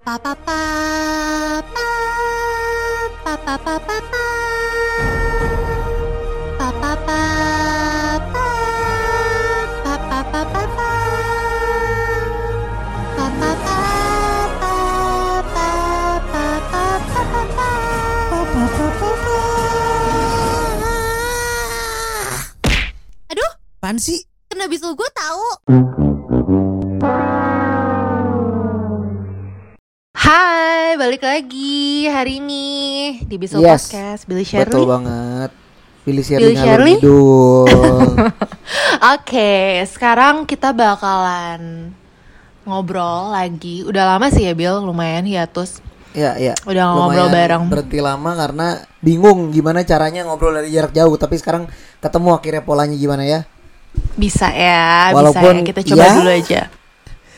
pa pa pa pa pa pa pa pa pa pa pa pa pa pa pa pa pa pa pa pa pa pa pa pa pa pa pa. Aduh, Apaan sih? kena bisul gue tahu. Hai, balik lagi hari ini di Bisul Yes. Podcast Billy Betul Shirley. Oke, banget. Pilih Pilih Shirley ngalur Shirley? ngidul. sekarang kita bakalan ngobrol lagi. Udah lama sih ya, Bill, lumayan hiatus. ya, ya. Udah ngobrol Lumayan bareng. Berhenti lama karena bingung gimana caranya ngobrol dari jarak jauh, tapi sekarang ketemu akhirnya polanya gimana ya. Bisa ya, bisa ya. Walaupun Kita coba ya. dulu aja.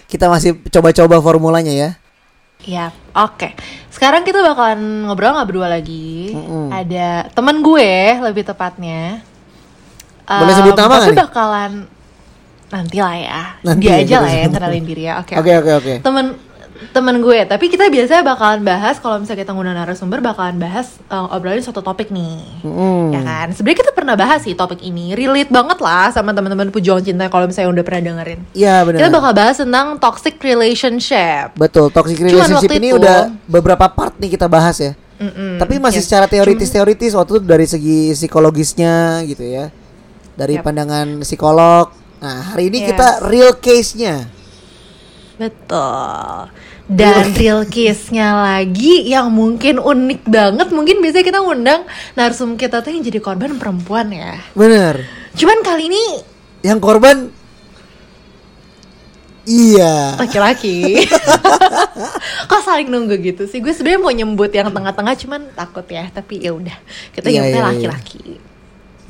Kita masih coba-coba formulanya ya. Ya, oke. Sekarang kita bakalan ngobrol nggak berdua lagi. Mm-mm. Ada temen gue lebih tepatnya. Boleh sebut nama nggak Tapi nih? bakalan nanti lah ya. Nanti Dia ya, aja kita lah ya yang sebut. kenalin diri ya. Oke. Oke, oke, oke. Temen temen gue. Tapi kita biasanya bakalan bahas kalau misalnya kita ngundang narasumber bakalan bahas eh, obrolin suatu topik nih. Mm-mm. Ya kan, sebenarnya kita pernah bahas sih topik ini, relate banget lah sama teman-teman pejuang cinta kalau misalnya udah pernah dengerin. Iya, benar. Kita bakal bahas tentang toxic relationship. Betul, toxic Cuman relationship waktu ini itu- Hmm, udah beberapa part nih kita bahas ya. Mm-mm, Tapi masih yes. secara teoritis-teoritis waktu itu dari segi psikologisnya gitu ya. Dari Yap. Iya. pandangan psikolog. Nah, hari ini Yes. kita real case-nya. Betul. Dan Iya. real case-nya lagi yang mungkin unik banget, mungkin biasanya kita ngundang narsum kita tuh yang jadi korban perempuan ya. Bener. Cuman kali ini Yang korban Iya. laki-laki. Kok saling nunggu gitu sih? Gue sebenarnya mau nyembut yang tengah-tengah cuman takut ya, tapi ya udah. Kita nyebutnya Iya, iya, iya. laki-laki.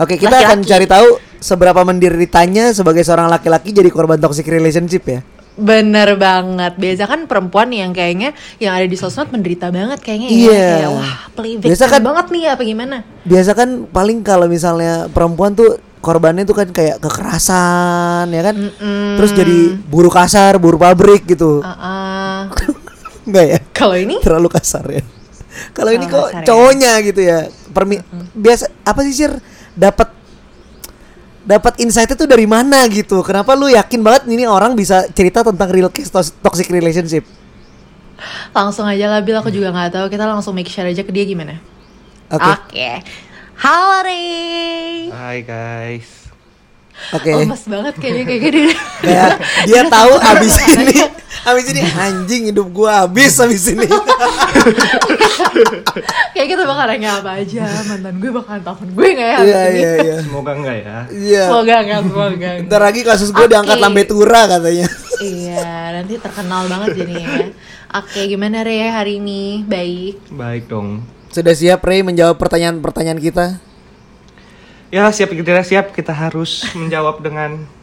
Oke, kita akan Laki-laki. cari tahu seberapa menderitanya sebagai seorang laki-laki jadi korban toxic relationship ya. Bener banget. Biasa kan perempuan yang kayaknya yang ada di sosmed menderita banget kayaknya ya. Iya. Kayak, wah, play Biasa victim kan- banget nih apa gimana? Biasa kan paling kalau misalnya perempuan tuh korbannya tuh kan kayak kekerasan ya kan? Mm-mm. Terus jadi buruh kasar, buruh pabrik gitu. Ah, ah. Enggak ya? Kalau ini Terlalu kasar ya. Kalau ini Terlalu kok kasar ya. cowoknya gitu ya. Permi biasa apa sih sir dapat dapat insight itu dari mana gitu? Kenapa lu yakin banget ini orang bisa cerita tentang real case tos- toxic relationship? langsung aja lah Bil, aku juga nggak tahu. Kita langsung make sure aja ke dia gimana. Oke. Ah, Halo Rey. Hai guys. Oke. Lemes banget kayaknya kayak gini. Kayak dia tahu abis ini abis ini anjing hidup gua habis abis ini. kayak kita bakal nanya apa aja. Mantan gue bakalan telepon gue nggak ya? Iya hari ini? iya iya. Semoga enggak ya. Iya. Semoga nggak, semoga. nggak. Ntar lagi kasus gua Oke. diangkat lambe tura katanya. iya, nanti terkenal banget jadinya ya. Oke, gimana Rey hari ini? Baik. Baik dong. Sudah siap Ray menjawab pertanyaan-pertanyaan kita? Ya siap kita siap kita harus menjawab dengan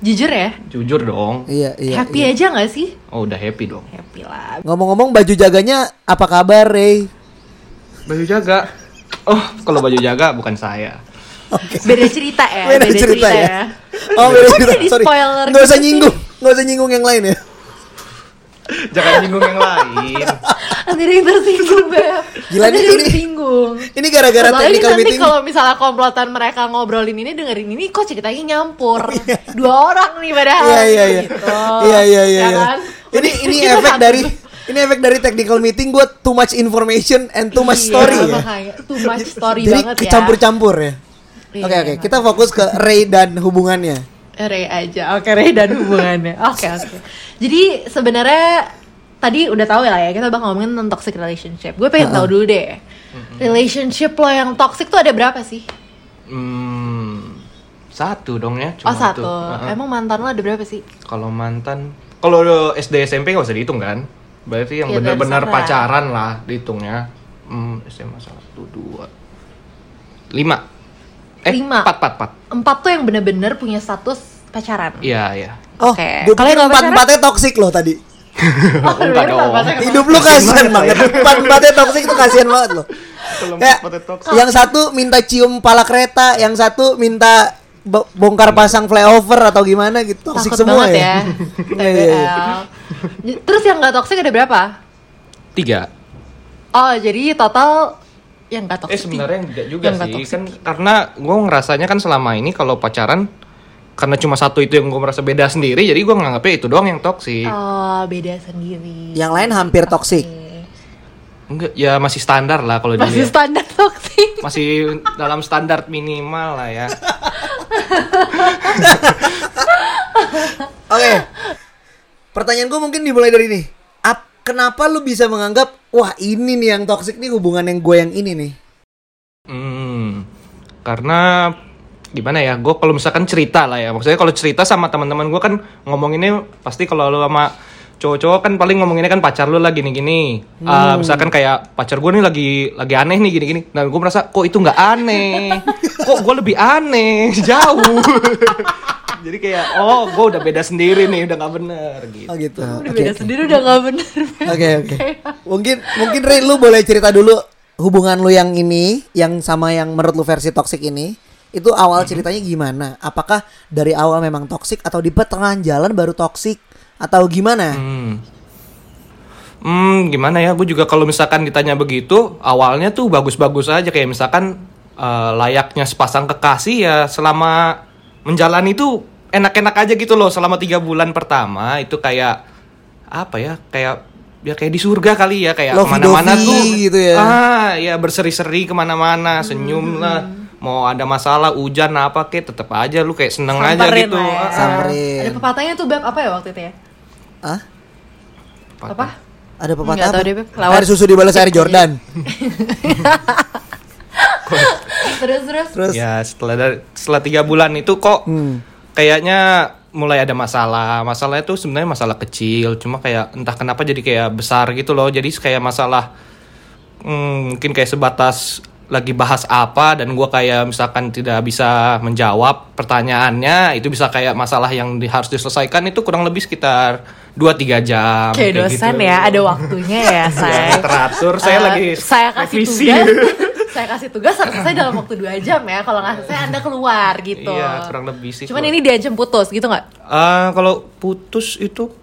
Jujur ya? jujur dong. Iya iya. happy aja nggak sih? Oh udah happy dong. Happy lah. Ngomong-ngomong baju jaganya apa kabar Ray? Baju jaga. Oh kalau baju jaga bukan saya. Beda cerita ya, Beda cerita ya. Oh beda Kok cerita, bisa sorry di-spoiler Nggak gitu usah sih? nyinggung, nggak usah nyinggung yang lain ya Jangan nyinggung yang lain. Nanti dia yang tersinggung Beb Gila, Nanti dia ini- yang ini- tersinggung Ini gara-gara Soalnya ini technical nanti meeting kalau misalnya komplotan mereka ngobrolin ini dengerin ini kok ceritanya nyampur dua orang nih padahal Oh, Iya iya iya gitu. Iya iya iya Ya iya. kan? Ini, ini Kita efek satu- dari ini efek dari technical meeting gue too much information and too much Iya, story ya. makanya. too much story Jadi banget ya kecampur-campur ya. Iya, Oke oke, makanya. kita fokus ke Ray dan hubungannya. Ray aja, oke Ray dan hubungannya, oke oke. Jadi sebenarnya tadi udah tahu lah ya kita bakal ngomongin tentang toxic relationship. Gue pengen tahu dulu deh, relationship lo yang toxic tuh ada berapa sih? Hmm, satu dong ya. Oh Cuma satu, tuh. Uh-uh. emang mantan lo ada berapa sih? Kalau mantan, kalau lo SD SMP nggak usah dihitung kan? Berarti yang Iya, benar-benar dari sana. pacaran lah dihitungnya. Hmm, SMA satu dua lima. Eh, Lima. Empat empat empat. Empat tuh yang bener-bener punya status pacaran. Iya iya. Oh, Oke. gue Kalau pikir yang nggak empat pacaran? empatnya toxic loh tadi. Oh, bener, Enggak dong. pacaran. Hidup lu kasihan banget. Empat empatnya toxic tuh kasihan banget loh. Kalau Ya, empatnya toxic. yang satu minta cium pala kereta, yang satu minta bo- bongkar pasang flyover atau gimana gitu. Toxic Takut semua banget ya. ya. Iya, iya, iya. TBL. Terus yang nggak toxic ada berapa? tiga Oh, jadi total yang gak toxic. eh sebenarnya enggak juga Yang nggak sih toxic. kan karena gue ngerasanya kan selama ini kalau pacaran karena cuma satu itu yang gue merasa beda sendiri jadi gue nganggapnya itu doang yang toksik Oh, beda sendiri. Yang lain hampir toksik. enggak ya masih standar lah kalau Masih dilihat standar toxic. masih dalam standar minimal lah ya Oke. Pertanyaan gue mungkin dimulai dari ini. Ap, kenapa lu bisa menganggap wah ini nih yang toksik nih hubungan yang gue yang ini nih? Hmm, karena gimana ya, gue kalau misalkan cerita lah ya, maksudnya kalau cerita sama teman-teman gue kan ngomonginnya pasti kalau lu sama cowok-cowok kan paling ngomonginnya kan pacar lu lah gini-gini, Ah, misalkan kayak pacar gue nih lagi lagi aneh nih gini-gini, nah gue merasa kok itu nggak aneh, kok gue lebih aneh jauh, jadi kayak oh gue udah beda sendiri nih udah nggak bener gitu. Oh gitu. Udah Oke. beda sendiri udah gak bener. Oke oke. Mungkin mungkin Ray lu boleh cerita dulu hubungan lu yang ini yang sama yang menurut lu versi toksik ini itu awal Mm-hmm. ceritanya gimana? Apakah dari awal memang toksik atau di pertengahan jalan baru toksik atau gimana? Mm. Hmm. Hmm, gimana ya? Gue juga kalau misalkan ditanya begitu, awalnya tuh bagus-bagus aja kayak misalkan eh, layaknya sepasang kekasih ya selama menjalani itu enak-enak aja gitu loh selama tiga bulan pertama itu kayak apa ya? Kayak ya kayak di surga kali ya kayak Lovey-dovey kemana-mana tuh gitu ya. ah ya berseri-seri kemana-mana senyum lah Hmm. mau ada masalah hujan apa kek tetap aja lu kayak seneng aja Samperin gitu lah ya. Ah, Samperin. Ada pepatahnya tuh Beb apa ya waktu itu ya? Hah? apa- Apa? Ada pepatah? Nggak tahu apa? deh, Beb. Iya. Lawan. Air susu dibalas air Jordan. terus terus. Terus ya setelah dari- setelah tiga bulan itu kok kayaknya mulai ada masalah masalahnya tuh sebenarnya masalah kecil cuma kayak entah kenapa jadi kayak besar gitu loh jadi kayak masalah hmm, mungkin kayak sebatas lagi bahas apa dan gua kayak misalkan tidak bisa menjawab pertanyaannya itu bisa kayak masalah yang di- harus diselesaikan itu kurang lebih sekitar 2-3 jam Oke dosen gitu. ya, ada waktunya ya Ya, saya. teratur Eh, saya lagi saya kasih revisi. tugas. saya kasih tugas harus selesai dalam waktu 2 jam ya. Kalau nggak selesai Anda keluar gitu. Iya, kurang lebih sih Cuman kalau- ini diancam putus gitu nggak? Eh, kalau putus itu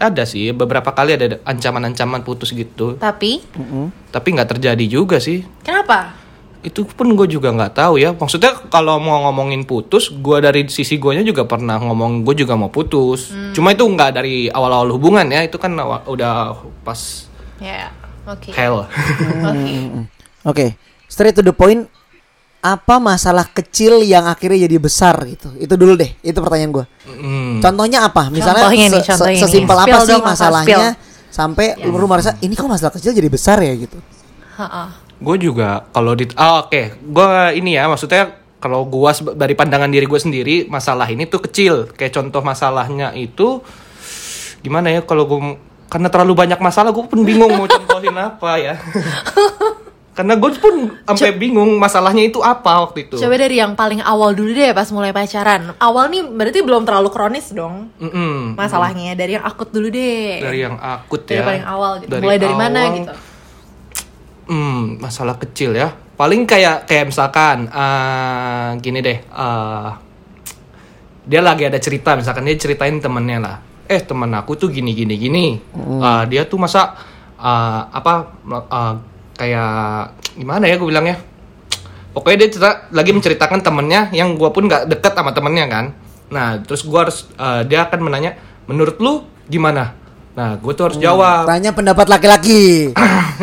ada sih beberapa kali ada ancaman-ancaman putus gitu, Tapi tapi nggak terjadi juga sih. kenapa? Itu pun gue juga nggak tahu ya. Maksudnya kalau mau ngomongin putus, gue dari sisi gue juga pernah ngomong gue juga mau putus. Cuma itu nggak dari awal-awal hubungan ya, itu kan awa- udah pas Ya, oke. hell. Oke. Hmm. Oke, straight to the point. Apa masalah kecil yang akhirnya jadi besar gitu? Itu dulu deh, itu pertanyaan gue. Hmm. Contohnya apa? Misalnya Contohnya nih, se- se- contohnya nih. sesimpel apa Spill sih dong, Ya. Rafa, masalahnya sampai lu merasa ini kok masalah kecil jadi besar ya gitu? Ha-ha. Gue juga kalau di ah, oke, gue ini ya maksudnya kalau gue dari pandangan diri gue sendiri masalah ini tuh kecil. Kayak contoh masalahnya itu gimana ya kalau gue karena terlalu banyak masalah gue pun bingung mau contohin apa ya. karena gue pun sampai bingung masalahnya itu apa waktu itu. Coba dari yang paling awal dulu deh pas mulai pacaran. Awal nih berarti belum terlalu kronis dong Mm-mm. masalahnya. Dari yang akut dulu deh. Hmm. Dari yang akut Dari ya. paling awal gitu. mulai dari mana awal, gitu. Hmm, masalah kecil ya. Paling kayak kayak misalkan eh, gini deh, eh, dia lagi ada cerita, misalkan dia ceritain temennya lah. Eh temen aku tuh gini gini gini. Eh, dia tuh masa eh, apa eh, kayak gimana ya gue bilangnya? Pokoknya dia cerita, lagi menceritakan temennya yang gue pun nggak deket sama temennya kan. Nah terus gue harus eh, dia akan menanya, menurut lu gimana? Nah gue tuh harus jawab. Tanya pendapat laki-laki.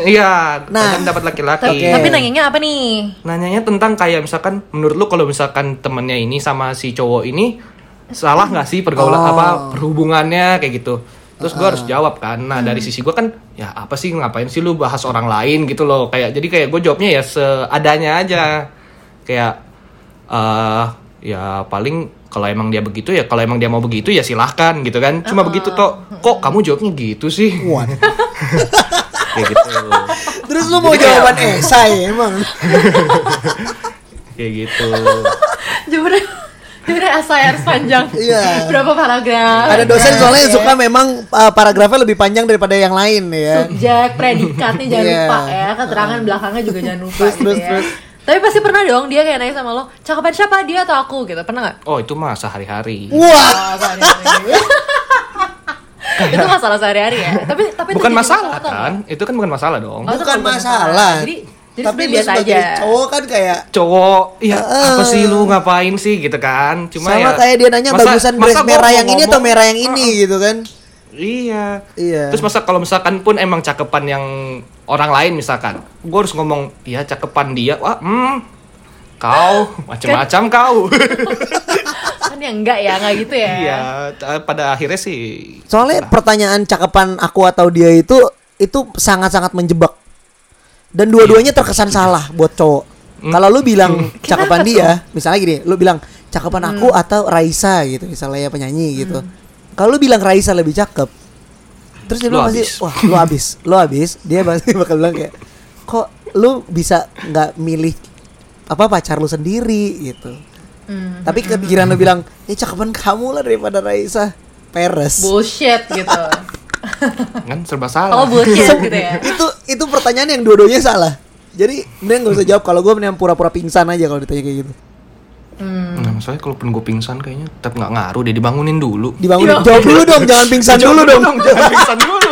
Iya, Nah. nah, dapat laki-laki. Tapi, tapi nanyanya apa nih? Nanyanya tentang kayak misalkan menurut lu kalau misalkan temennya ini sama si cowok ini salah nggak sih pergaulan apa perhubungannya kayak gitu. Terus gue harus jawab kan. Nah, dari sisi gue kan ya apa sih ngapain sih lu bahas orang lain gitu loh. Kayak jadi kayak gue jawabnya ya seadanya aja. Kayak eh ya paling kalau emang dia begitu ya kalau emang dia mau begitu ya silahkan gitu kan. Cuma begitu kok kok kamu jawabnya gitu sih. Waduh. kayak gitu. Terus lu mau jawaban esai emang? kayak gitu Jawabannya Jawabannya esai harus panjang. Iya. Berapa paragraf? Ada dosen soalnya iya. yang suka memang uh, paragrafnya lebih panjang daripada yang lain ya. subjek, predikatnya jangan Iya. lupa ya, keterangan belakangnya juga jangan lupa Terus, gitu terus, ya. terus. Tapi pasti pernah dong dia kayak nanya sama lo, cakepan siapa dia atau aku gitu, pernah nggak? oh itu mah sehari-hari Wah, Oh, sorry, sorry. itu masalah sehari-hari ya tapi tapi itu bukan jadi masalah atau enggak? kan itu kan bukan masalah dong Oh, itu bukan bukan masalah. masalah. Jadi- jadi tapi sebenarnya dia biasa sebagai aja. cowok kan kayak cowok ya apa sih lu ngapain sih gitu kan cuma sama ya kayak dia nanya masa- bagusan masa dress gua merah mau yang ini atau ngomong- merah yang ini gitu kan. iya Iya. terus masa kalau misalkan pun emang cakepan yang orang lain misalkan gue harus ngomong iya cakepan dia wah hmm kau macam-macam kau kan yang enggak ya enggak gitu ya iya t- pada akhirnya sih Soalnya pertanyaan cakapan aku atau dia itu itu sangat-sangat menjebak. Dan dua-duanya terkesan salah buat cowok. Kalau lu bilang cakapan dia, misalnya gini, lu bilang cakapan aku atau Raisa gitu, misalnya ya penyanyi gitu. Kalau lu bilang Raisa lebih cakep, terus dia Lu bilang pasti, abis. wah lu abis, lu abis. Dia pasti bakal bilang kayak, kok lu bisa nggak milih apa pacar lu sendiri gitu. Tapi kepikiran lu bilang, ya cakapan kamu lah daripada Raisa. Peres. bullshit gitu kan serba salah oh bullshit Sem- gitu ya itu itu pertanyaan yang dua-duanya salah jadi mending gak usah jawab kalau gue mending pura-pura pingsan aja kalau ditanya kayak gitu Nah, masalahnya kalau pun gue pingsan kayaknya tetap nggak ngaruh deh dibangunin dulu. dibangunin Iya. jawab dulu dong jangan pingsan dulu dong oke jangan pingsan dulu.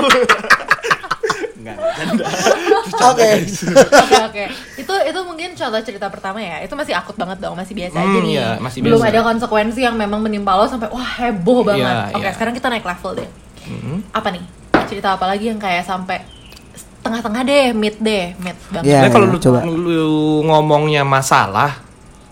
oke oke itu itu mungkin contoh cerita pertama ya itu masih akut banget dong masih biasa aja Hmm, nih iya, masih belum biasa. ada konsekuensi yang memang menimpa lo sampai wah heboh banget Iya, oke iya. Hmm. sekarang kita naik level deh apa nih cerita apa lagi yang kayak sampai tengah-tengah deh mid deh mid banget Iya. Nah, kalau lu, coba. lu ngomongnya masalah,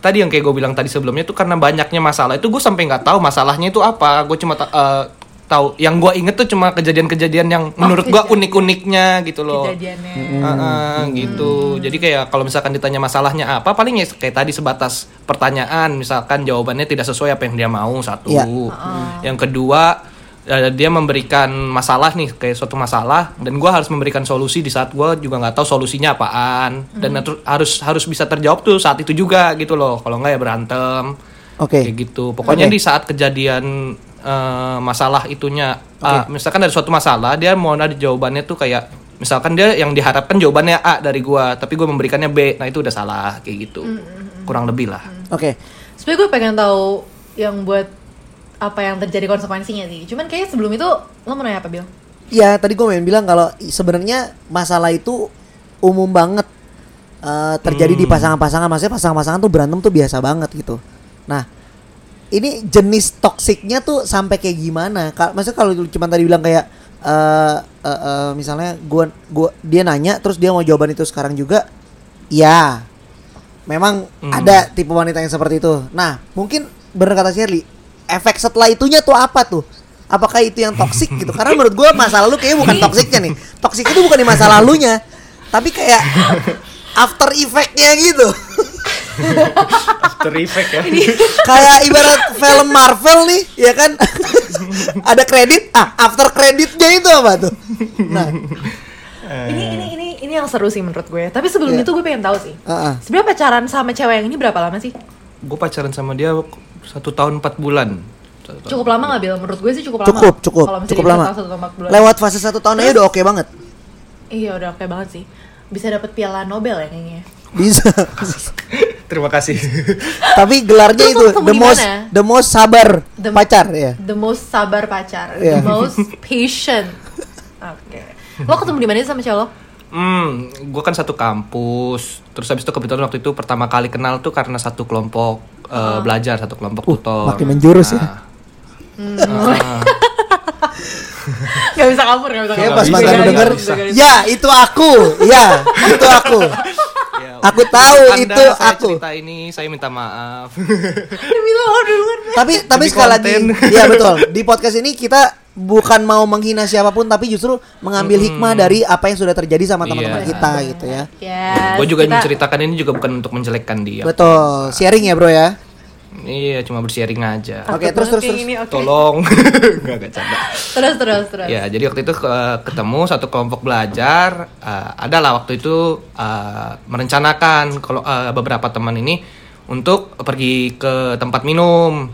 tadi yang kayak gue bilang tadi sebelumnya tuh karena banyaknya masalah itu gue sampai nggak tahu masalahnya itu apa. Gue cuma ta- eh, tahu yang gue inget tuh cuma kejadian-kejadian yang Oh, menurut gue kejadian. unik-uniknya gitu loh. kejadiannya Ah, ah, gitu. Jadi kayak kalau misalkan ditanya masalahnya apa, paling ya kayak tadi sebatas pertanyaan, misalkan jawabannya tidak sesuai apa yang dia mau satu. Iya. Yang kedua eh, dia memberikan masalah nih kayak suatu masalah dan gua harus memberikan solusi di saat gua juga nggak tahu solusinya apaan dan natu- harus harus bisa terjawab tuh saat itu juga gitu loh kalau nggak ya berantem kayak gitu pokoknya Oke. di saat kejadian eh, masalah itunya ah, misalkan ada suatu masalah dia mau ada jawabannya tuh kayak misalkan dia yang diharapkan jawabannya A dari gua tapi gua memberikannya B nah itu udah salah kayak gitu Mm, kurang lebih lah oke sebenernya gue pengen tahu yang buat apa yang terjadi konsekuensinya sih cuman kayaknya sebelum itu lo mau nanya apa Bill? ya tadi gue main bilang kalau i- sebenarnya masalah itu umum banget eh, terjadi Hmm. di pasangan-pasangan maksudnya pasangan-pasangan tuh berantem tuh biasa banget gitu nah ini jenis toksiknya tuh sampai kayak gimana Ka- maksudnya kalau lu cuma tadi bilang kayak eh eh, eh, misalnya gua gua dia nanya terus dia mau jawaban itu sekarang juga ya memang ada tipe wanita yang seperti itu. Nah, mungkin bener kata Shirley, efek setelah itunya tuh apa tuh? Apakah itu yang toksik gitu? Karena menurut gua masa lalu kayaknya bukan toksiknya nih. Toksik itu bukan di masa lalunya, tapi kayak after effect-nya gitu. after effect ya kayak ibarat film Marvel nih, ya kan? ada kredit, ah after kreditnya itu apa tuh? Nah, ini ini ini ini yang seru sih menurut gue tapi sebelum Iya. itu gue pengen tahu sih Ah, ah. sebenarnya pacaran sama cewek yang ini berapa lama sih gue pacaran sama dia satu tahun empat bulan Satu tahun. cukup lama nggak Bill? menurut gue sih cukup lama cukup, cukup, Kalau misalnya cukup kita lama. tahu satu tambah bulan. Lewat fase satu tahun aja udah oke banget. iya udah oke banget sih bisa dapat piala Nobel ya kayaknya Bisa. terima kasih tapi gelarnya Terus itu ketemu the di most mana? the most sabar The- pacar ya the most sabar pacar Iya. the most patient oke lo ketemu di mana sih sama cewek lo hmm gue kan satu kampus terus habis itu kebetulan waktu itu pertama kali kenal tuh karena satu kelompok eh, belajar satu kelompok tutor Oh. Uh, Nah. makin menjurus ya. Hmm. Ah. nggak bisa kabur nggak bisa Kayak kabur pas bisa, mantan nggak lu iya, denger, bisa. ya itu aku, ya itu aku. Ya, Aku tahu untuk itu saya aku. cerita ini saya minta maaf demi lo lo duluan Tapi tapi Demi sekali lagi, konten. ya betul. Di podcast ini kita bukan mau menghina siapapun, tapi justru mengambil hikmah dari apa yang sudah terjadi sama teman-teman Iya. kita gitu ya. Yes, gue juga kita- menceritakan ini juga bukan untuk menjelekkan dia Betul, sharing ya bro ya. iya cuma bersharing aja Oke, Takut terus, banget terus, kayak terus. gini, oke. tolong nggak nggak canda. terus terus terus ya jadi waktu itu ke- ketemu satu kelompok belajar eh, adalah waktu itu eh, merencanakan kalau eh, beberapa teman ini untuk pergi ke tempat minum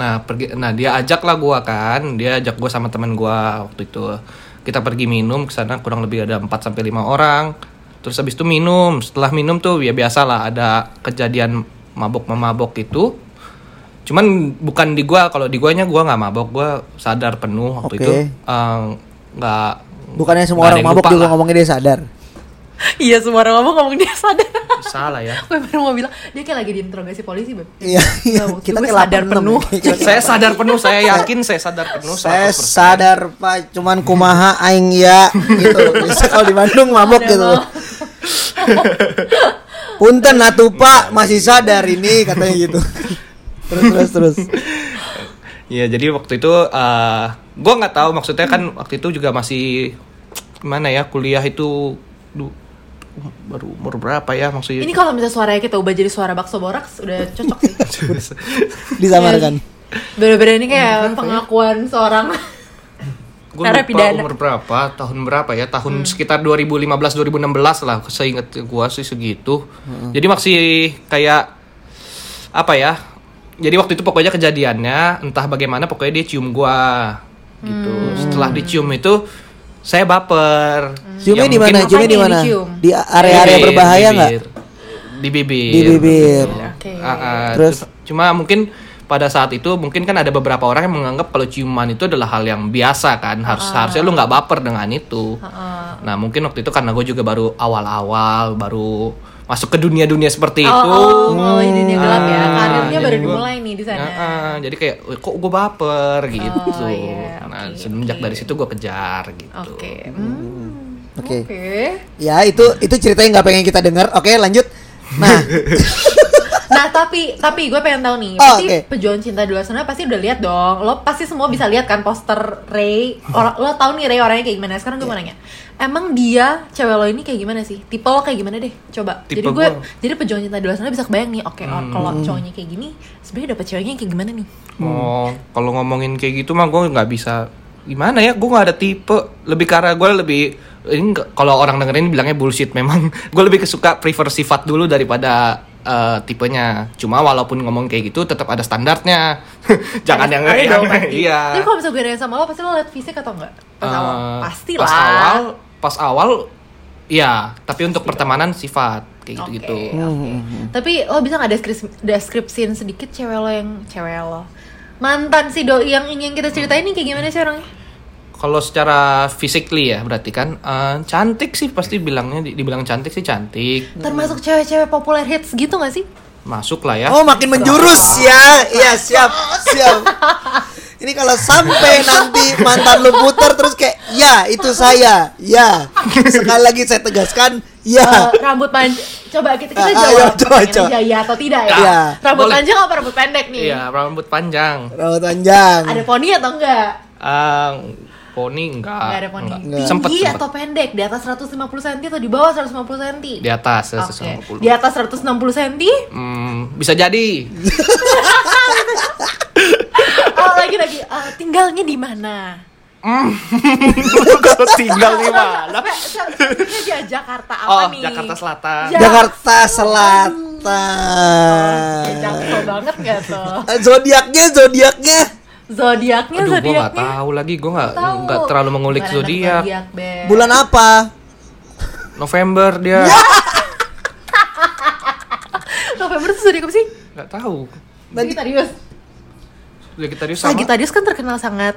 nah pergi nah dia ajak lah gua kan dia ajak gua sama teman gua waktu itu kita pergi minum ke sana kurang lebih ada 4 sampai lima orang terus habis itu minum setelah minum tuh ya biasalah ada kejadian mabok memabok itu cuman bukan di gua kalau di guanya gua nggak mabok gua sadar penuh waktu Oke. itu eh, nggak Bukannya nggak semua orang ada yang mabuk lupa juga lah. ngomongnya dia sadar. Iya semua orang ngomong ngomong dia sadar salah ya Gue baru mau bilang Dia kayak lagi diinterogasi polisi Beb Iya, iya. Gak mungkin, Kita gue kayak sadar 86 penuh. nih. saya sadar penuh saya yakin saya sadar penuh Saya 100%. sadar Pak, cuman kumaha aing ya gitu. Biasa kalau di Bandung mabok Ada gitu. mau. Punten atuh Pak, masih sadar ini katanya gitu. terus terus terus. Iya jadi waktu itu eh gue nggak tahu maksudnya kan waktu itu juga masih gimana ya kuliah itu du- baru umur berapa ya maksudnya Ini kalau misalnya suaranya kita ubah jadi suara bakso boraks Udah cocok sih kan? Iya. Disamarkan. Bener-bener ini kayak pengakuan seorang gue lupa narapidana. umur berapa tahun berapa ya Hmm. tahun sekitar 2015 2016 lah seingat gue sih segitu Hmm. jadi masih kayak apa ya jadi waktu itu pokoknya kejadiannya entah bagaimana pokoknya dia cium gua gitu Hmm. setelah dicium itu saya baper Ciumnya Ya di mana? mungkin- Cium Ciumnya di Makanya mana? dicium. Di area-area Bibir, berbahaya nggak? bibir. Di bibir. Di bibir. Oke. Ah, ah, Terus? cu- Cuma mungkin pada saat itu mungkin kan ada beberapa orang yang menganggap kalau ciuman itu adalah hal yang biasa kan harus Ah. harusnya lu nggak baper dengan itu. Nah mungkin waktu itu karena gue juga baru awal-awal baru masuk ke dunia-dunia seperti Oh, itu. oh, mulai dunia gelap ya. Ah, Karirnya Hmm. jadi baru gua- dimulai nih di sana. Oh, Ah, ah, jadi kayak "Eh, kok gue baper gitu. iya, nah oke, semenjak oke. dari situ gue kejar gitu. Oke. Hmm, Oke. Oke. Ya itu itu cerita yang nggak pengen kita dengar. Oke lanjut. Nah Nah, tapi tapi gue pengen tahu nih, Oh, pasti oke. pejuang cinta di luar sana pasti udah lihat dong. Lo pasti semua bisa lihat kan poster Ray. Or- lo tau nih Ray orangnya kayak gimana. Sekarang gue mau Iya. nanya. Emang dia cewek lo ini kayak gimana sih? Tipe lo kayak gimana deh? Coba. Tipe jadi gue gua. jadi pejuang cinta di luar sana bisa kebayang nih, oke or- kalau Hmm. cowoknya kayak gini, sebenarnya dapet ceweknya kayak gimana nih? Oh, kalau ngomongin kayak gitu mah gue nggak bisa gimana ya, gue nggak ada tipe. Lebih karena gue lebih ini nggak- kalau orang dengerin bilangnya bullshit memang. gue lebih kesuka prefer sifat dulu daripada eh, tipenya. Cuma walaupun ngomong kayak gitu tetap ada standarnya. Jangan yang, Ada yang- dong, pasti. iya. Tapi kalau misalnya gue nanya sama lo, pasti lo liat fisik atau enggak? Pas Eh, awal. Pasti lah. Pas awal, pas awal, ya. Tapi untuk pertemanan sifat kayak Oke, gitu-gitu. Hmm, oke. Tapi lo bisa nggak deskripsi deskripsiin sedikit cewek lo yang cewek lo mantan si doi yang ini yang kita ceritain ini kayak gimana sih orangnya? Hmm. Kalau secara physically ya berarti kan eh, cantik sih pasti bilangnya di- dibilang cantik sih cantik Termasuk cewek-cewek populer hits gitu nggak sih? masuk lah ya. Oh makin menjurus ya, ya siap, siap. Ini kalau sampai nanti mantan lu puter terus kayak, ya itu saya, ya. Sekali lagi saya tegaskan, ya. Eh, rambut panjang coba kita kita Ah, jawab ayo, rambut coba, panjang coba. aja, iya atau tidak ya? Iya. Rambut Boleh. panjang apa rambut pendek nih? Iya, rambut panjang. Rawat panjang. Ada poni atau enggak? Eh, poni enggak. Enggak ada Iya, poni. Ah, enggak. Tinggi Sempet, sempet. atau pendek? Di atas 150 cm atau di bawah 150 cm? di atas ya, Oke. 190. Di atas 160 cm? Hmm, bisa jadi. Oh, lagi lagi Eh, tinggalnya di mana? Kalau tinggal di mana? Sampai- sampai- sampai dia Jakarta apa oh, nih? Jakarta Selatan. Ya. Jakarta Kayak Selatan. Jaksel banget gak tuh? Zodiaknya, zodiaknya. Zodiaknya Aduh, gua nggak zodiaknya. tahu lagi, gua nggak Tahu. nggak terlalu mengulik Bukan anak zodiak. zodiak, Beb. Bulan apa? November dia. Ya. November tuh zodiak apa sih? Nggak tahu. Nanti- Sagittarius. Sagittarius sama. Sagittarius kan terkenal sangat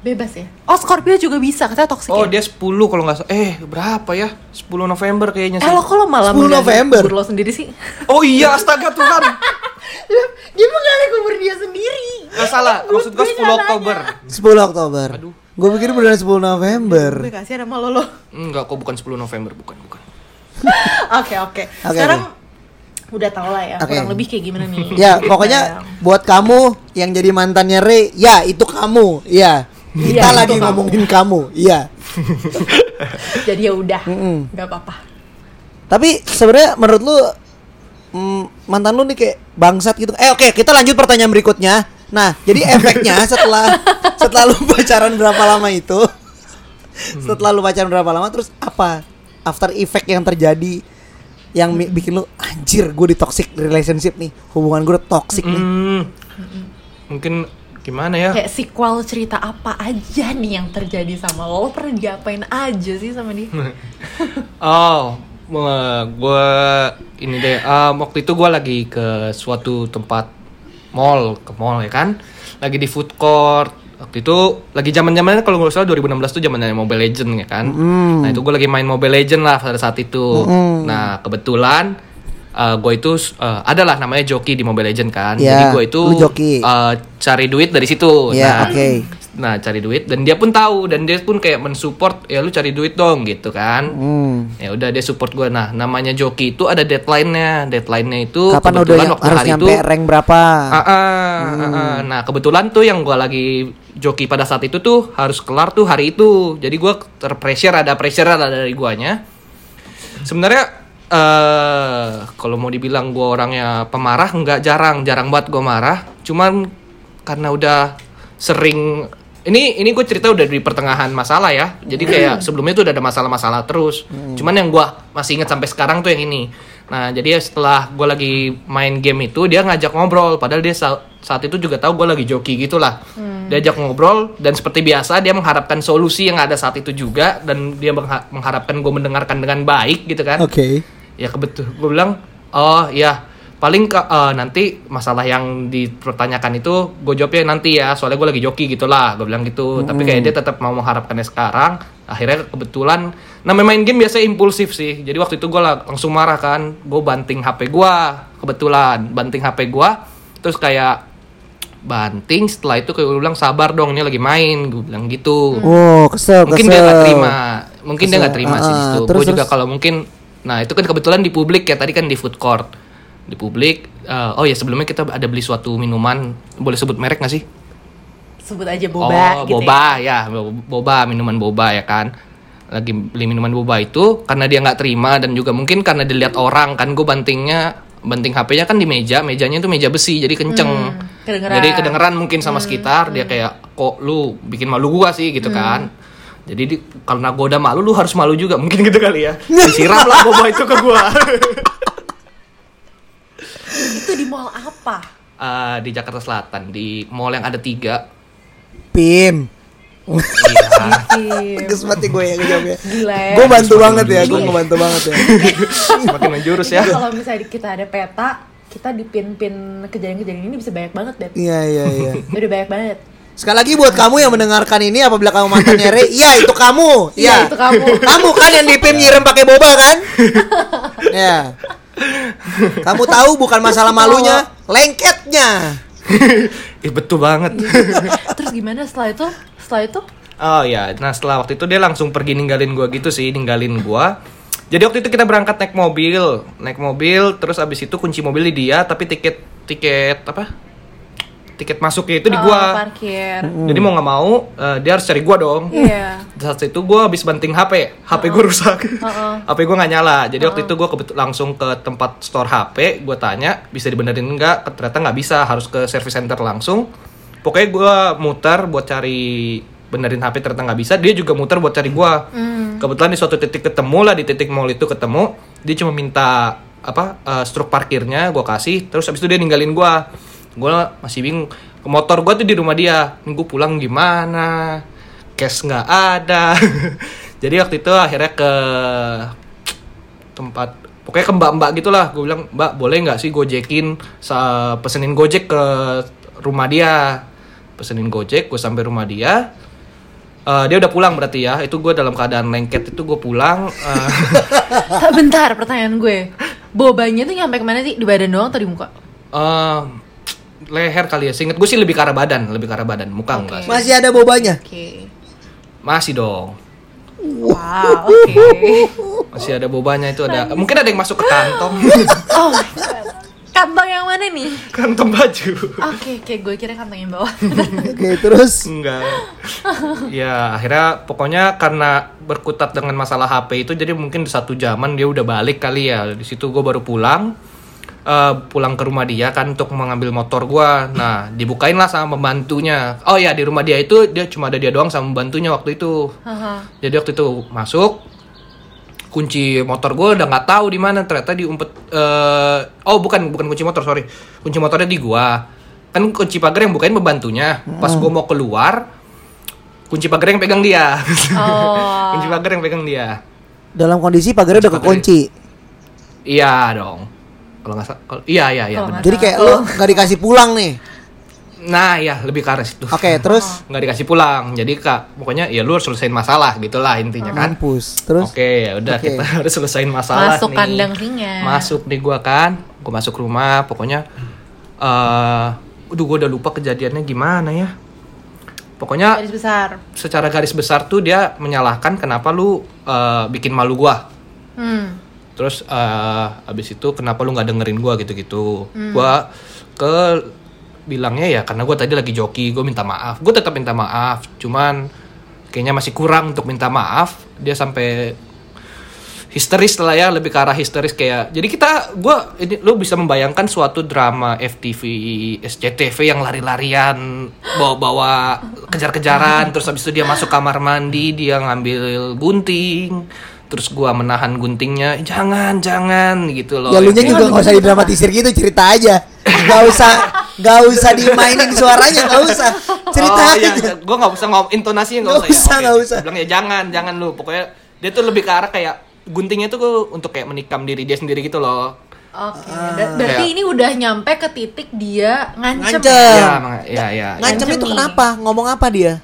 bebas ya. Oh, Scorpio juga bisa, katanya toksik Oh, ya. dia 10 kalau nggak salah. Eh, berapa ya? 10 November kayaknya Eh sih. lo kok lo malah 10 menggali November. kubur lo sendiri sih? Oh iya, astaga Tuhan. dia menggali kubur dia sendiri Nggak salah, maksud gua Gue 10 nggak Oktober. 10 Oktober. Aduh. Gue pikir bulan 10 November. Gue kasihan sama lo lo Enggak, kok bukan 10 November, bukan, bukan. Oke oke. Sekarang udah tau lah ya Oke. kurang lebih kayak gimana nih. Ya, Iya. pokoknya buat kamu yang jadi mantannya Re, ya itu kamu. Ya. Kita Iya, itu lagi kamu. ngomongin kamu. Iya. Jadi ya udah, nggak apa-apa. Tapi sebenarnya menurut lu mm, mantan lu nih kayak bangsat gitu. Eh oke, kita lanjut pertanyaan berikutnya. Nah, jadi efeknya setelah setelah lu pacaran berapa lama itu? Hmm. Setelah lu pacaran berapa lama terus apa after effect yang terjadi yang mi- bikin lu anjir gue di toxic relationship nih. Hubungan gue toxic nih. Hmm, mungkin gimana ya? Kayak sequel cerita apa aja nih yang terjadi sama lo? Lo pernah diapain aja sih sama dia? Hmm. Oh, um, gue ini deh. eh, waktu itu gue lagi ke suatu tempat mall ke mall ya kan lagi di food court waktu itu lagi zaman zamannya kalau nggak salah 2016 tuh zamannya Mobile Legend ya kan nah itu gue lagi main Mobile Legend lah pada saat itu nah kebetulan gue itu eh, ada adalah namanya joki di Mobile Legend kan jadi Ya, gue itu lu joki. eh, cari duit dari situ Ya, nah oke. nah cari duit dan dia pun tahu dan dia pun kayak mensupport ya lu cari duit dong gitu kan Hmm. ya udah dia support gue nah namanya joki itu ada deadline-nya deadline-nya itu Kapan udah kebetulan ya- waktu harus hari nyampe Hmm. itu rank berapa? Ah, ah, ah, ah. Nah kebetulan tuh yang gue lagi joki pada saat itu tuh harus kelar tuh hari itu. Jadi gue terpressure ada pressure ada dari guanya. Sebenarnya eh kalau mau dibilang gue orangnya pemarah nggak jarang jarang banget gue marah. Cuman karena udah sering ini ini gue cerita udah di pertengahan masalah ya. Jadi kayak sebelumnya tuh udah ada masalah-masalah terus. Cuman yang gue masih ingat sampai sekarang tuh yang ini. Nah, jadi ya setelah gue lagi main game itu, dia ngajak ngobrol. Padahal dia sa- saat itu juga tahu gue lagi joki gitu lah. Dia ajak ngobrol, dan seperti biasa dia mengharapkan solusi yang ada saat itu juga. Dan dia mengha- mengharapkan gue mendengarkan dengan baik gitu kan. Oke. Ya kebetul, gue bilang, oh ya paling ke- eh, nanti masalah yang dipertanyakan itu gue jawabnya nanti ya soalnya gue lagi joki gitulah gue bilang gitu tapi kayak dia tetap mau mengharapkannya sekarang akhirnya kebetulan nah main game biasanya impulsif sih jadi waktu itu gue langsung marah kan gue banting hp gue kebetulan banting hp gue terus kayak banting setelah itu kayak gue bilang sabar dong ini lagi main gue bilang gitu Oh, kesel, kesel. mungkin dia nggak terima mungkin dia Kesel. nggak terima Ah, sih di situ terus, gue juga terus. kalau mungkin nah itu kan kebetulan di publik ya tadi kan di food court di publik eh, oh ya sebelumnya kita ada beli suatu minuman boleh sebut merek nggak sih sebut aja boba oh gitu boba ya. bo- boba minuman boba ya kan lagi beli minuman boba itu karena dia nggak terima dan juga mungkin karena dilihat orang kan gue bantingnya banting HP-nya kan di meja mejanya itu meja besi jadi kenceng Hmm, kedengeran. Hmm. jadi kedengeran mungkin sama sekitar dia kayak kok lu bikin malu gua sih gitu kan jadi di, karena gua udah malu lu harus malu juga mungkin gitu kali ya disiram lah boba itu ke gua ya itu di mall apa Eh, di Jakarta Selatan di mall yang ada tiga Pim. Iya. Tim. Kes mati gue yang jawabnya. gila Eh, ya Gue bantu banget ya, gue ngebantu banget ya. semakin menjurus ya Jadi Iya, kalau misalnya kita ada peta kita di pin-pin kejadian-kejadian ini bisa banyak banget Beb Iya, iya, iya. udah banyak banget Sekali lagi buat kamu yang mendengarkan ini apabila kamu mantannya Re, iya itu kamu. Iya, Iya. itu kamu. Kamu kan yang dipim nyirem pakai boba kan? Iya. Kamu tahu bukan masalah malunya, lengketnya. Ih, betul banget terus gimana setelah itu setelah itu Oh ya, nah setelah waktu itu dia langsung pergi ninggalin gua gitu sih, ninggalin gua. Jadi waktu itu kita berangkat naik mobil, naik mobil, terus abis itu kunci mobil di dia, tapi tiket tiket apa? Tiket masuknya itu di Oh, gua. parkir Jadi mau nggak mau eh, dia harus cari gua dong. iya Saat itu gua habis banting HP, HP gua rusak, HP gua nggak nyala. Jadi waktu itu gua kebetul langsung ke tempat store HP, gua tanya bisa dibenerin nggak? Ternyata nggak bisa, harus ke service center langsung. Pokoknya gua muter buat cari benerin HP ternyata nggak bisa. Dia juga muter buat cari gua. Kebetulan di suatu titik ketemu lah di titik mall itu ketemu. Dia cuma minta apa eh, struk parkirnya gua kasih. Terus habis itu dia ninggalin gua. Gua masih bingung. Motor gua tuh di rumah dia. Minggu pulang gimana? cash nggak ada jadi waktu itu akhirnya ke tempat pokoknya ke mbak mbak gitulah gue bilang mbak boleh nggak sih gojekin sa- pesenin gojek ke rumah dia pesenin gojek gue sampai rumah dia Eh, dia udah pulang berarti ya itu gue dalam keadaan lengket itu gue pulang Eh, Tak, bentar pertanyaan gue bobanya tuh nyampe kemana sih di badan doang atau di muka eh, leher kali ya seinget gue sih lebih ke arah badan lebih ke arah badan muka enggak sih. Masih ada bobanya. oke masih dong wow oke masih ada bobanya itu ada mungkin ada yang masuk ke kantong oh my God. kantong yang mana nih kantong baju Oke, oke, gue kira kantong yang bawah. Oke, terus Enggak. ya, akhirnya pokoknya karena berkutat dengan masalah HP itu jadi mungkin di satu zaman dia udah balik kali ya. Di situ gue baru pulang. eh, pulang ke rumah dia kan untuk mengambil motor gua. Nah, dibukain lah sama pembantunya. Oh ya, di rumah dia itu dia cuma ada dia doang sama pembantunya waktu itu. Jadi waktu itu masuk kunci motor gue udah nggak tahu di mana ternyata diumpet eh oh bukan bukan kunci motor sorry kunci motornya di gua kan kunci pagar yang bukain pembantunya pas Hmm. gue mau keluar kunci pagar yang pegang dia Oh, kunci pagar yang pegang dia dalam kondisi pagarnya udah kekunci. iya dong kalau nggak salah. Kalau- Iya iya iya. Kalau benar. Jadi kayak lo nggak dikasih pulang nih. Nah ya lebih ke arah situ. Oke, terus Nggak dikasih pulang. Jadi kak, pokoknya ya lu harus selesain masalah gitulah intinya kan. kampus, terus Oke, ya udah Oke. kita harus selesain Hmm. masalah Masuk nih. kandang singa. Masuk nih gua kan. Gua masuk rumah, pokoknya eh aduh gua udah lupa kejadiannya gimana ya. Pokoknya Garis besar. secara garis besar tuh dia menyalahkan kenapa lu eh, bikin malu gua. Hmm. Terus habis abis itu kenapa lu nggak dengerin gua gitu-gitu. Gua ke bilangnya ya karena gua tadi lagi joki, gua minta maaf. Gua tetap minta maaf, cuman kayaknya masih kurang untuk minta maaf. Dia sampai histeris lah ya, lebih ke arah histeris kayak. Jadi kita gua ini lu bisa membayangkan suatu drama FTV SCTV yang lari-larian, bawa-bawa kejar-kejaran, terus habis itu dia masuk kamar mandi, dia ngambil gunting. Terus gua menahan guntingnya, jangan, jangan gitu loh. ya lu Yang kayak- juga nggak usah didramatisir gitu, cerita aja. Gak usah gak usah dimainin suaranya, gak usah. Cerita oh, aja. iya, gue nggak usah ngom intonasinya nggak Nggak usah, usah, ya. Oke. nggak usah. bilang ya jangan jangan lu pokoknya dia tuh lebih ke arah kayak guntingnya tuh gua untuk kayak menikam diri dia sendiri gitu loh Oke. Ber- Berarti Kayak- ini udah nyampe ke titik dia ngancem. Ngancem. ya? ya emang- ya ya Ngancem itu nih. kenapa? Ngomong apa dia?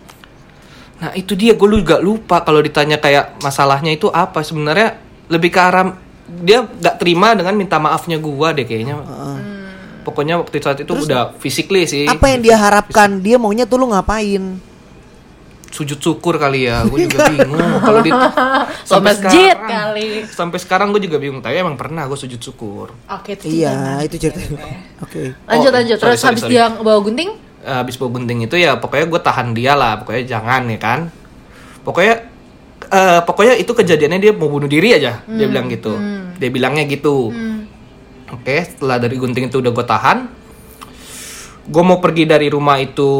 nah itu dia gue juga lupa kalau ditanya kayak masalahnya itu apa sebenarnya lebih ke arah dia nggak terima dengan minta maafnya gua deh kayaknya Hmm. pokoknya waktu saat itu udah physically sih Apa yang dia harapkan? Dia maunya tuh lu ngapain? sujud syukur kali ya gue juga bingung kalau di sampai masjid sekarang- kali. sampai sekarang gue juga bingung tapi emang pernah gue sujud syukur Oke, itu Iya, jangan. itu cerita. Oke. Lanjut Oh, lanjut. sorry, Terus sorry, habis sorry. dia bawa gunting? Eh, habis bawa gunting itu ya pokoknya gue tahan dia lah pokoknya jangan ya kan pokoknya eh, pokoknya itu kejadiannya dia mau bunuh diri aja dia bilang gitu dia bilangnya gitu oke setelah dari gunting itu udah gue tahan gue mau pergi dari rumah itu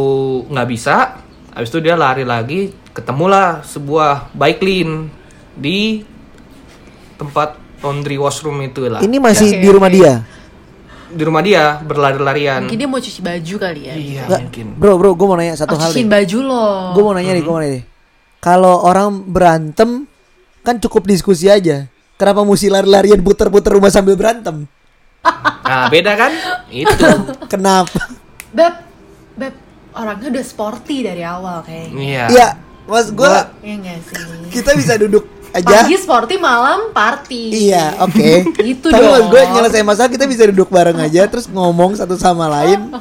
nggak bisa habis itu dia lari lagi ketemulah sebuah bike lane di tempat laundry washroom itu lah Ini masih Oke, di rumah dia. di rumah dia berlari-larian Mungkin dia mau cuci baju kali ya. iya Nggak, mungkin Bro, bro, gue mau nanya Oh, satu hal deh. cuciin baju loh. Gue mau nanya deh, gue mau nanya deh. Kalau orang berantem kan cukup diskusi aja. Kenapa mesti lari-larian puter-puter rumah sambil berantem? Nah, beda kan? Itu. Kenapa? Beb, Beb, orangnya udah sporty dari awal kayaknya. Iya. Iya, mas gue Iya nggak sih? kita bisa duduk aja. Pagi sporty, malam party. Iya, oke. Gitu Tapi mas dong. gue nyelesain masalah kita bisa duduk bareng aja, terus ngomong satu sama lain.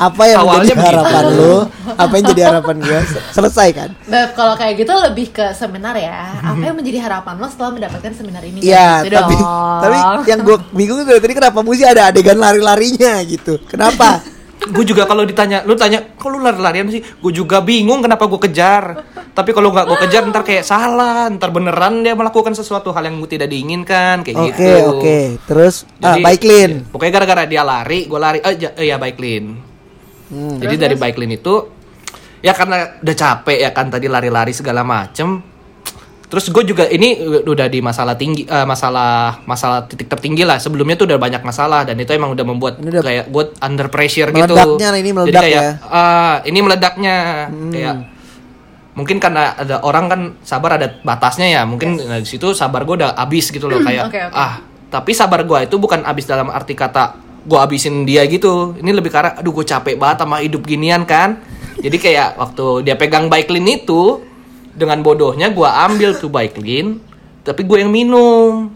Apa yang Awalnya menjadi begitu. harapan lo? Apa yang jadi harapan gue? Selesai kan? Beb, kalau kayak gitu lebih ke seminar ya. Mhm. Apa yang menjadi harapan lo setelah mendapatkan seminar ini? Ya, Iya, Gitu tapi dong. tapi yang gue bingung dari tadi kenapa mesti ada adegan lari-larinya gitu? Kenapa? Gue juga kalau ditanya, lu tanya, kok lu lari-larian sih? Gue juga bingung kenapa gue kejar. Tapi kalau nggak gue kejar, ntar kayak salah, ntar beneran dia melakukan sesuatu hal yang gue tidak diinginkan, kayak Oke, gitu. oke. Terus ah, bike lane. ya, Pokoknya gara-gara dia lari, gue lari. Eh, ja- eh, ya bike lane. Hmm. Jadi dari bike lane itu ya karena udah capek ya kan tadi lari-lari segala macem. Terus gue juga ini udah di masalah tinggi, eh, masalah masalah titik tertinggi lah. Sebelumnya tuh udah banyak masalah dan itu emang udah membuat Ini udah kayak gue under pressure gitu. Meledaknya, ini meledak Jadi kayak, ya. "Ah, ini meledaknya Hmm. kayak mungkin karena ada orang kan sabar ada batasnya ya mungkin nah, di situ sabar gue udah abis gitu loh kayak Hmm, oke, oke. ah tapi sabar gue itu bukan abis dalam arti kata gue abisin dia gitu ini lebih karena aduh gue capek banget sama hidup ginian kan jadi kayak waktu dia pegang bike lane itu dengan bodohnya gue ambil tuh bike lane tapi gue yang minum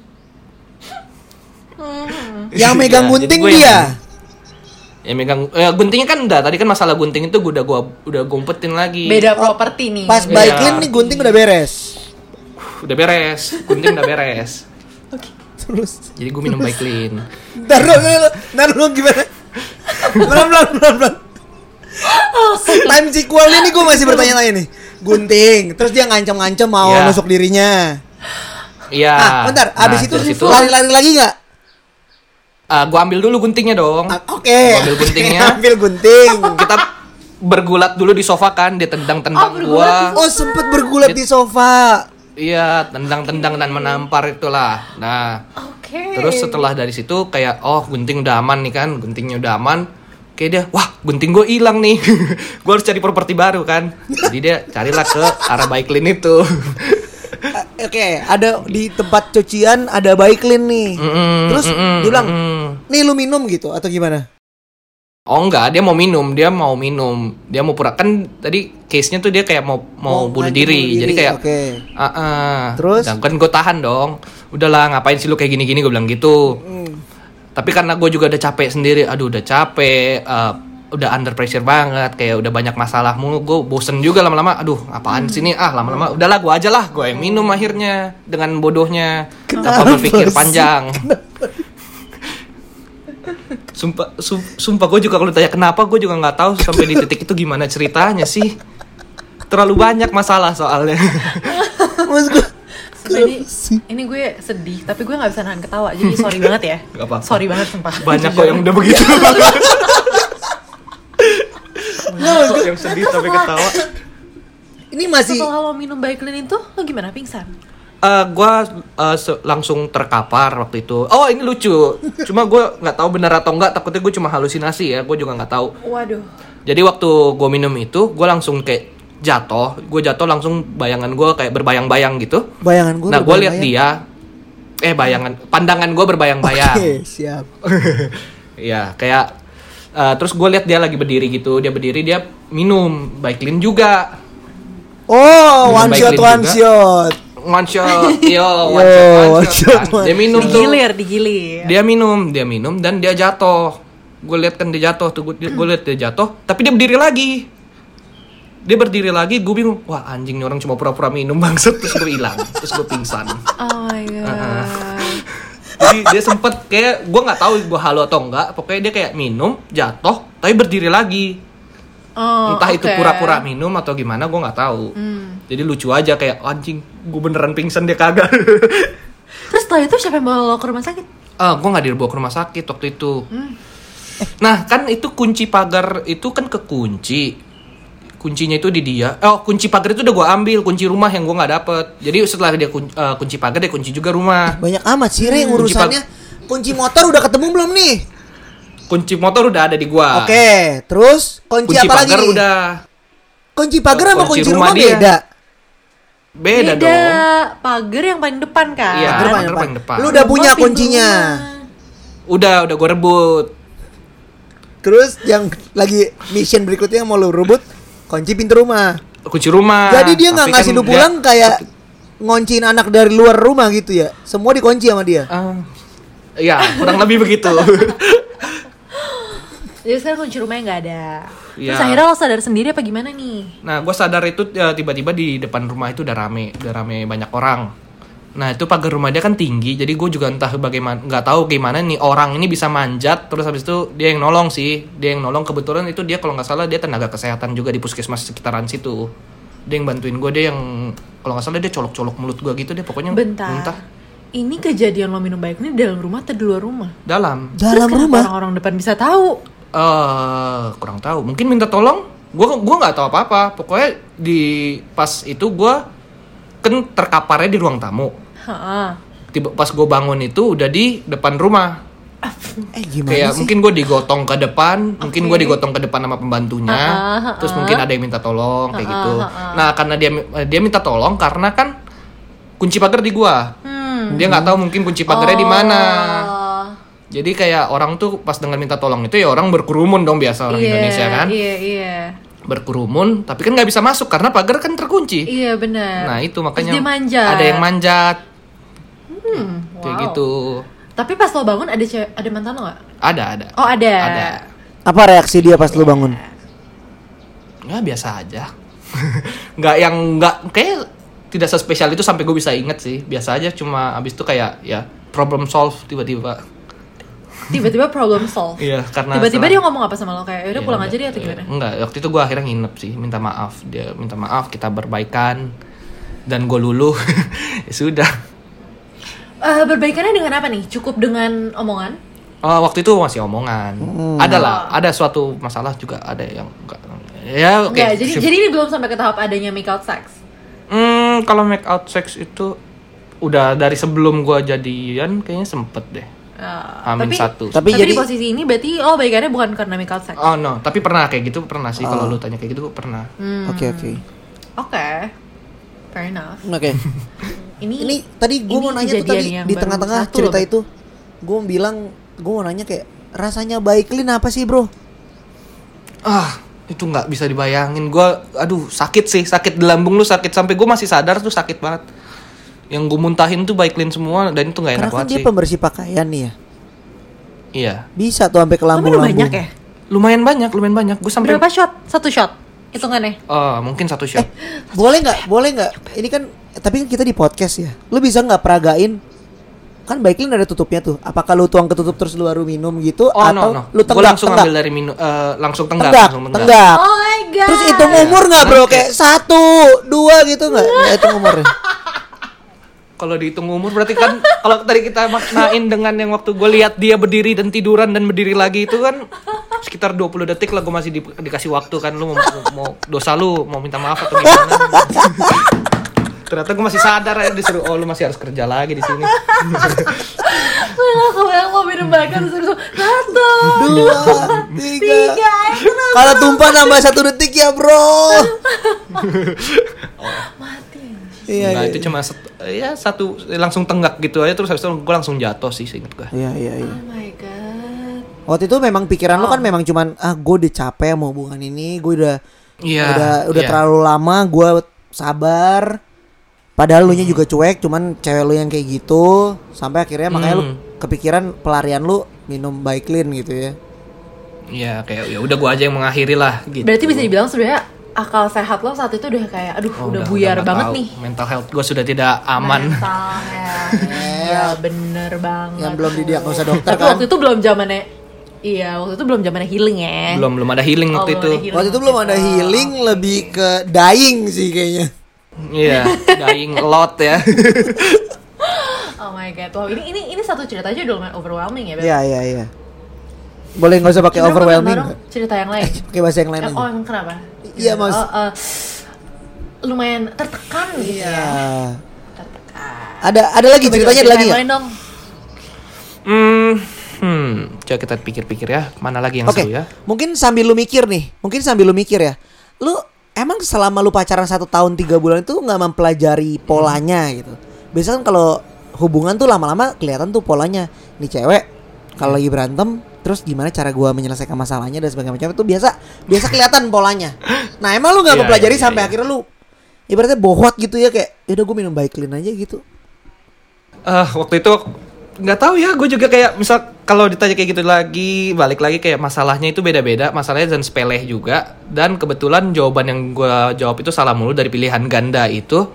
Yang megang Iya, jadi gunting gue yang- dia. ya megang eh, guntingnya kan udah tadi kan masalah gunting itu gue udah gue udah gumpetin lagi beda properti nih. Pas Oke. bike Iya. lane nih gunting udah beres. udah beres gunting udah beres Terus jadi gue minum bike lane Ntar lu, ntar lu, ntar lu gimana? Pelan, pelan, pelan, pelan. Time sequel ini gue masih bertanya-tanya nih. Gunting, terus dia ngancam-ngancam mau Ya. nusuk dirinya. Iya. Ah, bentar, abis itu lari-lari lagi nggak? ah, gua ambil dulu guntingnya dong. Ah, Oke. Gua ambil guntingnya. Ambil gunting. Kita bergulat dulu di sofa kan, dia tendang-tendang Oh, gua. bergulat Oh sempet bergulat di sofa. Iya, tendang-tendang dan menampar itulah. Nah, Oke. terus setelah dari situ kayak oh gunting udah aman nih kan, guntingnya udah aman. Kayak dia, wah gunting gue hilang nih, gue harus cari properti baru kan. Jadi dia carilah ke arah bike lane itu. Eh, ada di tempat cucian ada Baiklin nih. Mm-mm, Terus mm-mm, dia bilang, mm-mm. "Nih lu minum gitu atau gimana?" Oh enggak, dia mau minum, dia mau minum, dia mau pura kan tadi case-nya tuh dia kayak mau mau Oh, bunuh ngancam diri, jadi kayak Oke. ah ah. Terus? Dan kan gue tahan dong, udahlah ngapain sih lu kayak gini-gini gue bilang gitu. Hmm. Tapi karena gue juga udah capek sendiri, aduh udah capek, eh, udah under pressure banget, kayak udah banyak masalah mulu, gue bosen juga lama-lama, aduh apaan sih ini, ah Hmm. lama-lama udahlah gue aja lah, gue yang minum akhirnya dengan bodohnya, tanpa Kenapa berpikir sih? panjang. Sumpah, sum- sumpah gue juga kalau ditanya kenapa gue juga nggak tahu sampai di titik itu gimana ceritanya sih. Terlalu banyak masalah soalnya. Maksud gue, Tadi, ini gue sedih tapi gue nggak bisa nahan ketawa jadi sorry banget ya Nggak apa-apa. sorry banget sumpah banyak kok yang udah begitu. banyak kok yang sedih sampai ketawa. ini masih setelah lo minum Baiklin itu lo gimana pingsan Eh gue langsung terkapar waktu itu. Oh ini lucu. Cuma gue nggak tahu benar atau nggak. Takutnya gue cuma halusinasi ya. Gue juga nggak tahu. waduh Jadi waktu gue minum itu, gue langsung kayak jatuh. Gue jatuh langsung bayangan gue kayak berbayang-bayang gitu. bayangan gue. nah gue lihat dia, eh bayangan, pandangan gue berbayang-bayang. Oke, siap. Iya, kayak eh, terus gue lihat dia lagi berdiri gitu, dia berdiri dia minum Baiklin juga. Oh, Minum one Baiklin shot one juga. shot. One shot, yo, Yo, one shot, one one shot. shot, ya. one Dia minum tuh. digilir digilir Dia minum, dia minum dan dia jatuh. Gue lihat kan dia jatuh tuh, gue lihat dia jatuh, tapi dia berdiri lagi. Dia berdiri lagi, gue bingung. Wah anjing nih orang cuma pura-pura minum bangsat terus gue hilang, terus gue pingsan. oh my god Jadi dia sempet kayak gue nggak tahu gue halo atau enggak, pokoknya dia kayak minum, jatuh, tapi berdiri lagi. oh, entah itu oke. Hmm. pura-pura minum atau gimana gue nggak tahu jadi lucu aja kayak "Oh, anjing gue beneran pingsan dia kagak terus setelah itu siapa yang bawa lo ke rumah sakit ah gue nggak dibawa ke rumah sakit waktu itu Hmm. nah kan itu kunci pagar itu kan kekunci kuncinya itu di dia oh kunci pagar itu udah gue ambil kunci rumah yang gue nggak dapet jadi setelah dia kun- eh, kunci pagar dia kunci juga rumah Banyak amat sih Re, Hmm, Kunci pag- urusannya. Kunci motor udah ketemu belum nih? kunci motor udah ada di gue Oke, terus kunci, apa Ah. kunci lagi? pagar nih? udah Kunci pagar sama Kunci kunci, rumah rumah, dia. beda. beda, dong pagar yang paling depan kan Iya, Pagar paling paling depan. depan. Lu udah Rumah, punya pintu kuncinya. rumah. udah udah gue rebut Terus yang lagi mission berikutnya yang mau lu rebut kunci pintu rumah. kunci rumah Jadi dia nggak Tapi ngasih kan lu dia- pulang kayak ngonciin anak dari luar rumah gitu ya. Semua dikunci sama dia. Ah, ya kurang lebih begitu. Jadi sekarang kunci rumahnya nggak ada. Terus Iya. akhirnya lo sadar sendiri apa gimana nih? nah, gue sadar itu ya, tiba-tiba di depan rumah itu udah rame, udah rame banyak orang. Nah, itu pagar rumah dia kan tinggi, jadi gue juga entah bagaimana, nggak tahu gimana nih orang ini bisa manjat. Terus habis itu dia yang nolong sih, dia yang nolong kebetulan itu dia kalau nggak salah dia tenaga kesehatan juga di puskesmas sekitaran situ. Dia yang bantuin gue, dia yang kalau nggak salah dia colok-colok mulut gue gitu, dia pokoknya Bentar. muntah Ini kejadian lo minum baik ini di dalam rumah atau di luar rumah? dalam. Terus Dalam kenapa rumah. orang-orang depan bisa tahu? eh kurang tahu. Mungkin minta tolong. Gua gua nggak tahu apa-apa. Pokoknya di pas itu gua kan terkaparnya di ruang tamu. Heeh. Tiba pas gue bangun itu udah di depan rumah. Eh gimana Kayak sih? mungkin gue digotong ke depan, mungkin gue digotong ke depan sama pembantunya. Ah, ah, Terus mungkin ada yang minta tolong kayak gitu. Nah, karena dia dia minta tolong karena kan kunci pagar di gua. Hmm. Dia nggak tahu mungkin kunci pagarnya di mana. Oh, Jadi kayak orang tuh pas dengar minta tolong itu ya orang berkerumun dong biasa orang iya, Indonesia kan. Iya, iya. berkerumun tapi kan nggak bisa masuk karena pagar kan terkunci Iya, benar. nah itu makanya Terus dia manjat. ada yang manjat Hmm, kayak wow. gitu Tapi pas lo bangun ada cewek- ada mantan lo nggak? ada ada Oh, ada. ada Apa reaksi dia pas lu bangun? ya biasa aja nggak yang nggak kayak tidak sespesial itu sampai gue bisa inget sih biasa aja cuma abis itu kayak ya problem solve tiba-tiba Tiba-tiba problem solve. iya karena Tiba-tiba setelah- dia ngomong apa sama lo kayak, "Udah Iya, pulang aja udah, deh atau iya. gimana?" Enggak, waktu itu gue akhirnya nginep sih, minta maaf. Dia minta maaf, kita berbaikan dan gue luluh. ya sudah. Eh, berbaikannya dengan apa nih? Cukup dengan omongan? Oh, waktu itu masih omongan. Hmm. Ada lah, Ah. ada suatu masalah juga ada yang enggak. Ya oke. Enggak, jadi Sip. jadi ini belum sampai ke tahap adanya make out sex. Hmm, kalau make out sex itu udah dari sebelum gua jadian kayaknya sempet deh. Ah, Amin satu. Tapi Tapi, jadi di posisi ini berarti oh baikannya bukan karena make out sex. Oke. Oh no, tapi pernah kayak gitu pernah sih Ah. kalau lu Hmm. tanya kayak gitu gua pernah. Oke oke. Fair enough. Oke. Ini, ini tadi ini gue mau nanya tuh kejadian tadi yang di baru tengah-tengah satu cerita loh. itu gue bilang gue mau nanya kayak rasanya baiklin apa sih bro ah itu nggak bisa dibayangin gua aduh sakit sih sakit di lambung lu sakit sampai gue masih sadar tuh sakit banget yang gue muntahin tuh baiklin semua dan itu nggak karena enak kan banget dia sih pembersih pakaian nih ya iya bisa tuh sampai ke Kamu udah lambung-lambung banyak ya? lumayan banyak lumayan banyak gue sampai Berapa shot? Satu shot hitungannya Eh, mungkin satu shot boleh nggak boleh nggak ini kan tapi kan kita di podcast ya lu bisa nggak peragain kan baiklin ada tutupnya tuh apakah lu tuang ketutup terus lu baru minum gitu oh no atau no lu gue tenggak langsung tenggak, ambil dari minu eh, langsung tenggak tenggak langsung tenggak. Oh my god Nah. terus hitung umur nggak bro Oke. kayak satu dua gitu nggak nggak hitung umurnya kalau dihitung umur berarti kan kalau tadi kita maknain dengan yang waktu gue lihat dia berdiri dan tiduran dan berdiri lagi itu kan sekitar 20 detik lah gue masih di- dikasih waktu kan lu mau, mau dosa lu mau minta maaf atau gimana ternyata gue masih sadar ya disuruh oh lu masih harus kerja lagi di sini Gue gak kebayang mau minum bakar terus Satu dua Tiga tiga eh. itu kalau tumpah nambah satu detik ya bro iya iya Nah, itu cuma set- ya satu langsung tenggak gitu aja terus habis itu gue langsung jatuh sih seinget gue iya iya iya Oh my god waktu itu memang pikiran lu kan memang cuman ah gue udah capek mau hubungan ini gue udah Iya, udah udah iya. terlalu lama gue sabar padahal lu nya juga Hmm. cuek cuman cewek lu yang kayak gitu sampai akhirnya makanya lu Hmm. kepikiran pelarian lu minum baiklin gitu ya ya kayak ya udah gue aja yang mengakhiri lah gitu Berarti bisa dibilang sebenarnya akal sehat lo saat itu udah kayak aduh Oh, udah, buyar nggak banget tahu. nih Nah, mental health gue sudah tidak aman Mental health. Iya bener banget. Yang belum didiagnosa dokter, Tapi kan? waktu itu belum zamannya Iya, waktu itu belum zamannya healing ya. belum belum ada healing Oh, belum waktu itu ada healing waktu itu belum ada healing lebih ke dying sih kayaknya Iya, dying a lot ya. Oh my god. Wow, ini ini ini satu cerita aja udah lumayan overwhelming ya. Beb. iya iya iya boleh nggak usah pakai Kenapa overwhelming nggak bareng Cerita yang lain. pakai bahasa yang lain Eh, aja oh, emang kenapa? Iya, Mas. Oh, eh, lumayan tertekan gitu Iya. ya. ada ada lagi Coba ceritanya ada cerita lagi yang ya lain dong. Hmm, hmm, coba kita pikir-pikir ya, mana lagi yang Oke, seru ya? mungkin sambil lu mikir nih, mungkin sambil lu mikir ya, lu emang selama lu pacaran satu tahun tiga bulan itu nggak mempelajari polanya gitu. Biasanya kan kalau hubungan tuh lama-lama kelihatan tuh polanya. Nih cewek kalau lagi berantem, terus gimana cara gua menyelesaikan masalahnya dan sebagainya macam itu biasa biasa kelihatan polanya. Nah emang lu nggak Iya, mempelajari iya, sampai iya. akhirnya lu ibaratnya bohot gitu ya kayak, yaudah gue minum baiklin aja gitu. Eh, waktu itu nggak tahu ya, gue juga kayak misal kalau ditanya kayak gitu lagi, balik lagi kayak masalahnya itu beda-beda, masalahnya dan sepele juga. Dan kebetulan jawaban yang gue jawab itu salah mulu dari pilihan ganda itu.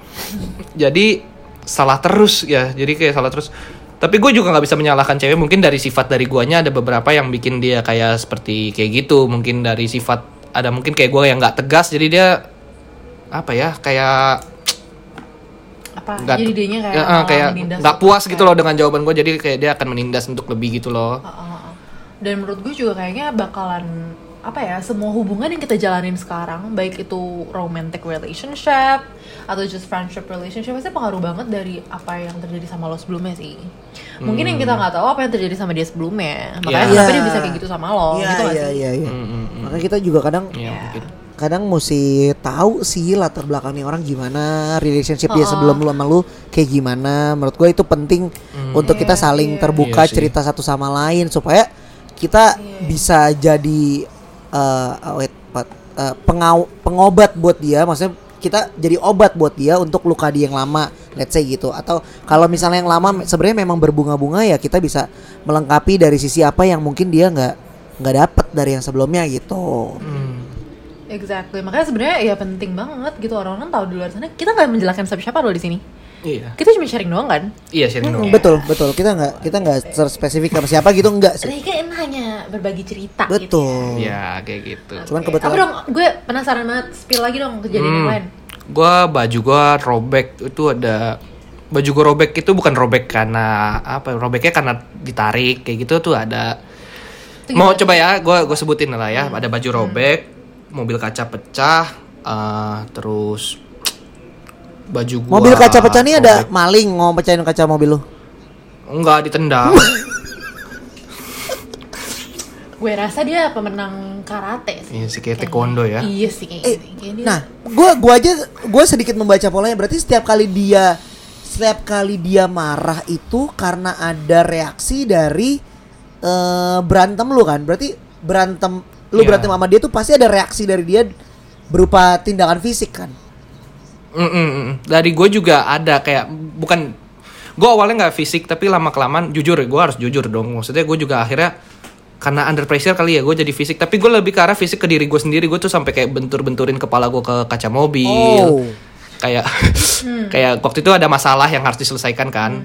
Jadi salah terus ya, jadi kayak salah terus. Tapi gue juga nggak bisa menyalahkan cewek, mungkin dari sifat dari guanya ada beberapa yang bikin dia kayak seperti kayak gitu, mungkin dari sifat ada mungkin kayak gue yang nggak tegas, jadi dia apa ya kayak Apa? nggak jadi dianya kayak ya, ah, eh, malah kayak menindas nggak gitu, puas kayak- Oh, gitu loh dengan jawaban gue jadi kayak dia akan menindas untuk lebih gitu loh Heeh, heeh. Dan menurut gue juga kayaknya bakalan apa ya semua hubungan yang kita jalanin sekarang baik itu romantic relationship atau just friendship relationship pasti pengaruh banget dari apa yang terjadi sama lo sebelumnya sih mungkin yang kita Hmm. nggak tahu apa yang terjadi sama dia sebelumnya makanya Iya. kenapa dia bisa kayak gitu sama lo Iya gitu nggak iya sih iya. iya. Mm, mm, mm. Makanya kita juga kadang Iya, mungkin kadang mesti tahu sih latar belakangnya orang gimana relationship dia sebelum lu sama lu kayak gimana menurut gue itu penting untuk kita saling terbuka Hmm. Iya sih. cerita satu sama lain supaya kita bisa jadi eh, oh, wait, pat- eh, pengaw- pengobat buat dia maksudnya kita jadi obat buat dia untuk luka dia yang lama let's say gitu atau kalau misalnya yang lama me- sebenarnya memang berbunga-bunga ya kita bisa melengkapi dari sisi apa yang mungkin dia nggak nggak dapet dari yang sebelumnya gitu Hmm. exactly makanya sebenarnya ya penting banget gitu orang-orang tahu di luar sana kita nggak menjelaskan siapa-siapa lo di sini iya kita cuma sharing doang kan iya sharing Hmm, doang betul betul kita nggak kita nggak ser- spesifik sama siapa gitu nggak sih Jadi kan hanya berbagi cerita gitu ya. betul ya kayak gitu cuman Oke, Apa kebetulan dong? Gue penasaran banget. Spill lagi dong kejadian Hmm. yang lain. gue baju gue robek itu ada baju gue robek itu bukan robek karena apa robeknya karena ditarik kayak gitu tuh ada mau coba ya gue gue sebutin lah ya Hmm. ada baju robek mobil kaca pecah eh, terus baju gua mobil kaca pecah nih ada robek. maling mau pecahin kaca mobil lu enggak ditendang Gue rasa dia pemenang karate sih. Iya sih, kayak taekwondo ya. Iya sih kayaknya. eh sih. Kayaknya dia- nah gua gua aja gua sedikit membaca polanya berarti setiap kali dia setiap kali dia marah itu karena ada reaksi dari eh, berantem lu kan. Berarti berantem lu Iya. berantem sama dia tuh pasti ada reaksi dari dia berupa tindakan fisik kan. Mm, mm, mm. Dari gue juga ada kayak bukan gue awalnya nggak fisik tapi lama kelamaan jujur gue harus jujur dong maksudnya gue juga akhirnya karena under pressure kali ya gue jadi fisik tapi gue lebih ke arah fisik ke diri gue sendiri gue tuh sampai kayak bentur-benturin kepala gue ke kaca mobil Oh. kayak kayak waktu itu ada masalah yang harus diselesaikan kan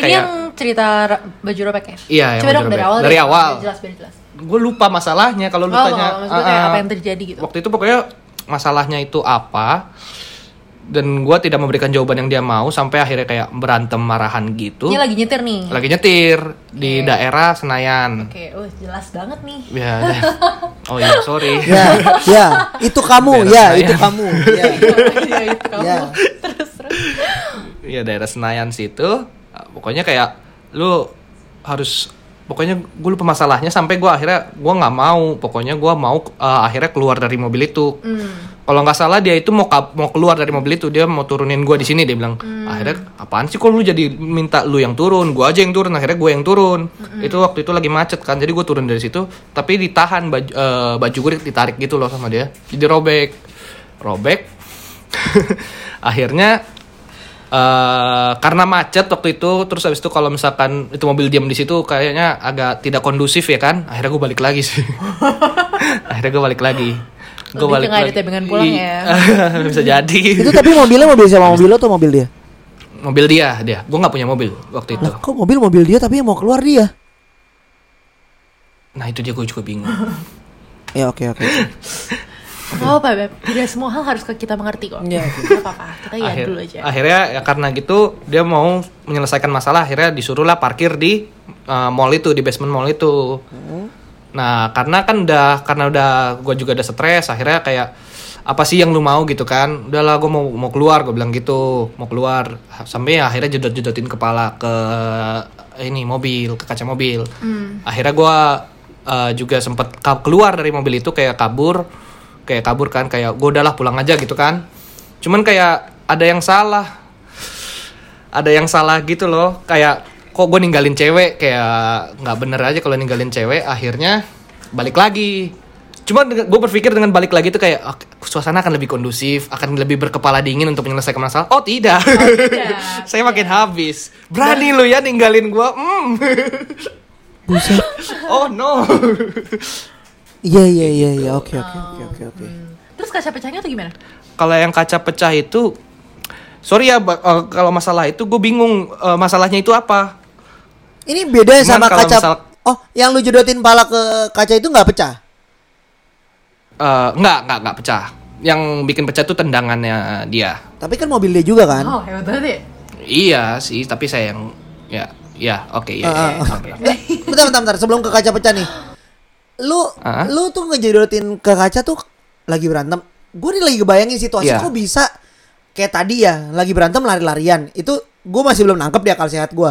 Hmm. Ini kayak yang cerita ra- baju robek ya? Iya, yang Coba baju dong dari robek. awal. Dari deh, awal. biar jelas, biar jelas. gue lupa masalahnya kalau Oh, lu tanya nggak, maksudnya kayak ah, ah. apa yang terjadi gitu. waktu itu pokoknya masalahnya itu apa dan gue tidak memberikan jawaban yang dia mau sampai akhirnya kayak berantem marahan gitu Ini lagi nyetir nih. lagi nyetir di daerah Senayan Oke, uh, jelas banget nih. ya dah. oh iya sorry Ya, ya, itu kamu, Beres ya, saya. itu kamu. Ya. ya itu kamu. Ya. Terus terus. ya daerah Senayan situ ah, pokoknya kayak lu harus pokoknya gue lupa masalahnya sampai gue akhirnya gue nggak mau pokoknya gue mau eh, akhirnya keluar dari mobil itu kalau nggak salah dia itu mau kap- mau keluar dari mobil itu dia mau turunin gue di sini dia bilang akhirnya apaan sih kok lu jadi minta lu yang turun gue aja yang turun akhirnya gue yang turun itu waktu itu lagi macet kan jadi gue turun dari situ tapi ditahan baju eh, baju gue ditarik gitu loh sama dia jadi robek robek akhirnya eh karena macet waktu itu terus habis itu kalau misalkan itu mobil diam di situ kayaknya agak tidak kondusif ya kan akhirnya gue balik lagi sih akhirnya gue balik lagi gue Lebih balik ke nggak ada lagi tebengan pulang ya. Iya. bisa jadi Itu tapi mobilnya mobil siapa mobil lo atau mobil dia? mobil dia dia gue nggak punya mobil waktu itu Lah, kok mobil mobil dia tapi yang mau keluar dia? nah itu dia gue juga bingung Ya oke oke. Oh, apa Beb? Tidak semua hal harus ke kita mengerti kok. Iya, oke. Nggak apa-apa. Kita ya Akhir- dulu aja. akhirnya ya karena gitu dia mau menyelesaikan masalah akhirnya disuruhlah parkir di eh, mall itu di basement mall itu Hmm. nah karena kan udah karena udah gue juga udah stres akhirnya kayak apa sih yang lu mau gitu kan udahlah gue mau mau keluar gue bilang gitu mau keluar sampai ya akhirnya jedot-jedotin kepala ke ini mobil ke kaca mobil Hmm. akhirnya gue juga sempet ka- keluar dari mobil itu kayak kabur kayak kabur kan kayak gue udahlah pulang aja gitu kan cuman kayak ada yang salah ada yang salah gitu loh kayak kok gue ninggalin cewek kayak nggak bener aja kalau ninggalin cewek akhirnya balik lagi cuman gue berpikir dengan balik lagi itu kayak "Ah, suasana akan lebih kondusif akan lebih berkepala dingin untuk menyelesaikan masalah oh tidak, saya makin habis berani lu ya ninggalin gue hmm. Buset. oh no Iya iya iya iya oke oke oke oke oke. Hmm. Terus kaca pecahnya tuh gimana? kalau yang kaca pecah itu sorry ya ba- eh, kalau masalah itu gue bingung eh, masalahnya itu apa Ini beda ya Cuman sama kalau kaca. misal- Oh, yang lu jodotin pala ke kaca itu nggak pecah? Eh, nggak, nggak, nggak pecah. Yang bikin pecah tuh tendangannya dia. Tapi kan mobil dia juga kan? Oh, hebat banget ya. Iya sih, tapi saya yang ya, ya, oke ya. Ah, ya, oke. Bentar, bentar, bentar, bentar, sebelum ke kaca pecah nih. Lu Ah? lu tuh ngejodotin ke kaca tuh lagi berantem. Gue nih lagi kebayangin situasi Iya. kok bisa kayak tadi ya, lagi berantem lari-larian. Itu gue masih belum nangkep di akal sehat gue.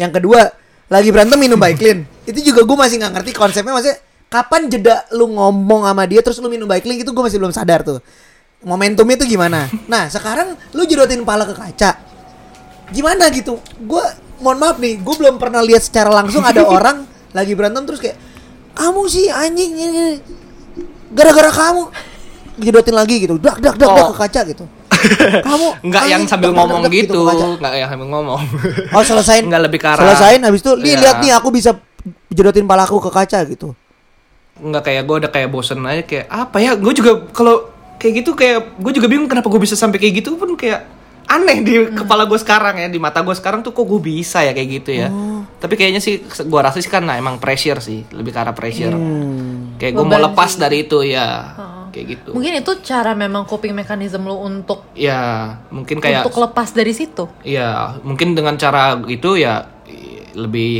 Yang kedua, lagi berantem minum Baiklin. Itu juga gue masih nggak ngerti konsepnya maksudnya kapan jeda lu ngomong sama dia terus lu minum Baiklin itu gue masih belum sadar tuh. Momentumnya tuh gimana? Nah, sekarang lu jodotin pala ke kaca gimana gitu gue mohon maaf nih gue belum pernah lihat secara langsung ada orang lagi berantem terus kayak kamu sih anjing ini, ini. gara-gara kamu dijodotin lagi gitu dak dak dak, dak ke Oh. kaca gitu kamu Nggak yang anjing, sambil dak, dak, ngomong dak, dak gitu, ke kaca. nggak yang sambil ngomong. oh selesain Nggak lebih ke arah- selesain habis itu nih Iya. lihat nih aku bisa jodotin palaku ke kaca gitu Nggak kayak gue udah kayak bosen aja kayak apa ya? Gue juga kalau kayak gitu kayak gue juga bingung kenapa gue bisa sampai kayak gitu pun kayak aneh di kepala gue sekarang ya di mata gue sekarang tuh kok gue bisa ya kayak gitu ya. Tapi kayaknya sih gue rasa sih karena emang pressure sih, lebih ke arah pressure. Kayak gue mau Beban lepas sih. Oh. dari itu ya, kayak gitu. Mungkin itu cara memang coping mechanism lo untuk Ya, mungkin kayak untuk lepas dari situ. ya mungkin dengan cara gitu Hmm. itu ya i- lebih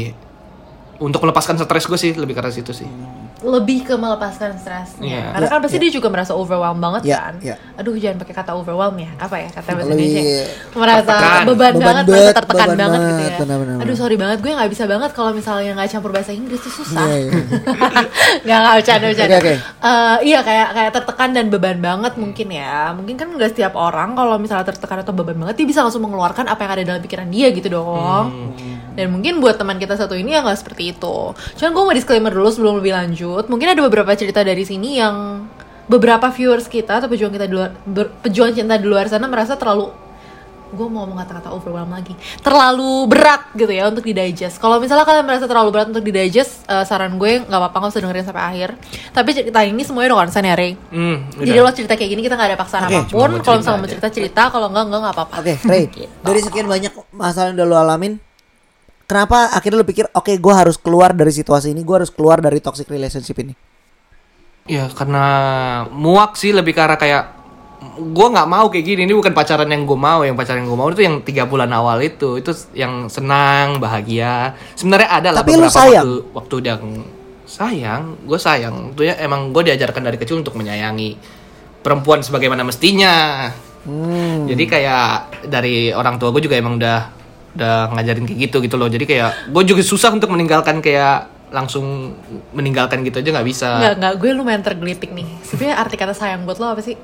untuk melepaskan stres gue sih lebih karena situ sih. lebih ke melepaskan stresnya Iya. karena kan Iya, pasti dia juga merasa overwhelmed banget Iya, kan iya. aduh jangan pakai kata overwhelm ya apa ya kata bahasa Lebih- Indonesia merasa Tertekan. beban, Beban banget banget, merasa tertekan beban banget gitu banget, ya benar-benar. aduh sorry banget gue nggak bisa banget kalau misalnya nggak campur bahasa Inggris tuh susah Iya, iya. nggak nggak bercanda bercanda Oke, oke. Eh, iya kayak kayak tertekan dan beban banget mungkin ya mungkin kan nggak setiap orang kalau misalnya tertekan atau beban banget dia bisa langsung mengeluarkan apa yang ada dalam pikiran dia gitu dong Hmm. dan mungkin buat teman kita satu ini ya nggak seperti itu cuman gue mau disclaimer dulu sebelum lebih lanjut mungkin ada beberapa cerita dari sini yang beberapa viewers kita atau pejuang kita di luar ber- pejuang cinta di luar sana merasa terlalu gue mau ngomong kata-kata overwhelm lagi terlalu berat gitu ya untuk didigest kalau misalnya kalian merasa terlalu berat untuk didigest eh, saran gue nggak apa-apa nggak usah dengerin sampai akhir tapi cerita ini semuanya udah konsen ya Rey Hmm, jadi lo cerita kayak gini kita nggak ada paksaan Oke, apapun cuma mau kalau misalnya cerita mau aja. cerita cerita kalau nggak nggak nggak apa-apa Oke, Ray. Gitu. Dari sekian banyak masalah yang udah lo alamin, kenapa akhirnya lo pikir, oke, gue harus keluar dari situasi ini, gue harus keluar dari toxic relationship ini? Ya karena muak sih lebih ke arah kayak gue nggak mau kayak gini ini bukan pacaran yang gue mau yang pacaran yang gue mau itu yang tiga bulan awal itu itu yang senang bahagia sebenarnya ada lah Tapi lu beberapa sayang. waktu waktu yang sayang gue sayang itu ya emang gue diajarkan dari kecil untuk menyayangi perempuan sebagaimana mestinya Hmm. jadi kayak dari orang tua gue juga emang udah udah ngajarin kayak gitu gitu loh jadi kayak gue juga susah untuk meninggalkan kayak langsung meninggalkan gitu aja nggak bisa nggak nggak gue lumayan tergelitik nih sebenarnya arti kata sayang buat lo apa sih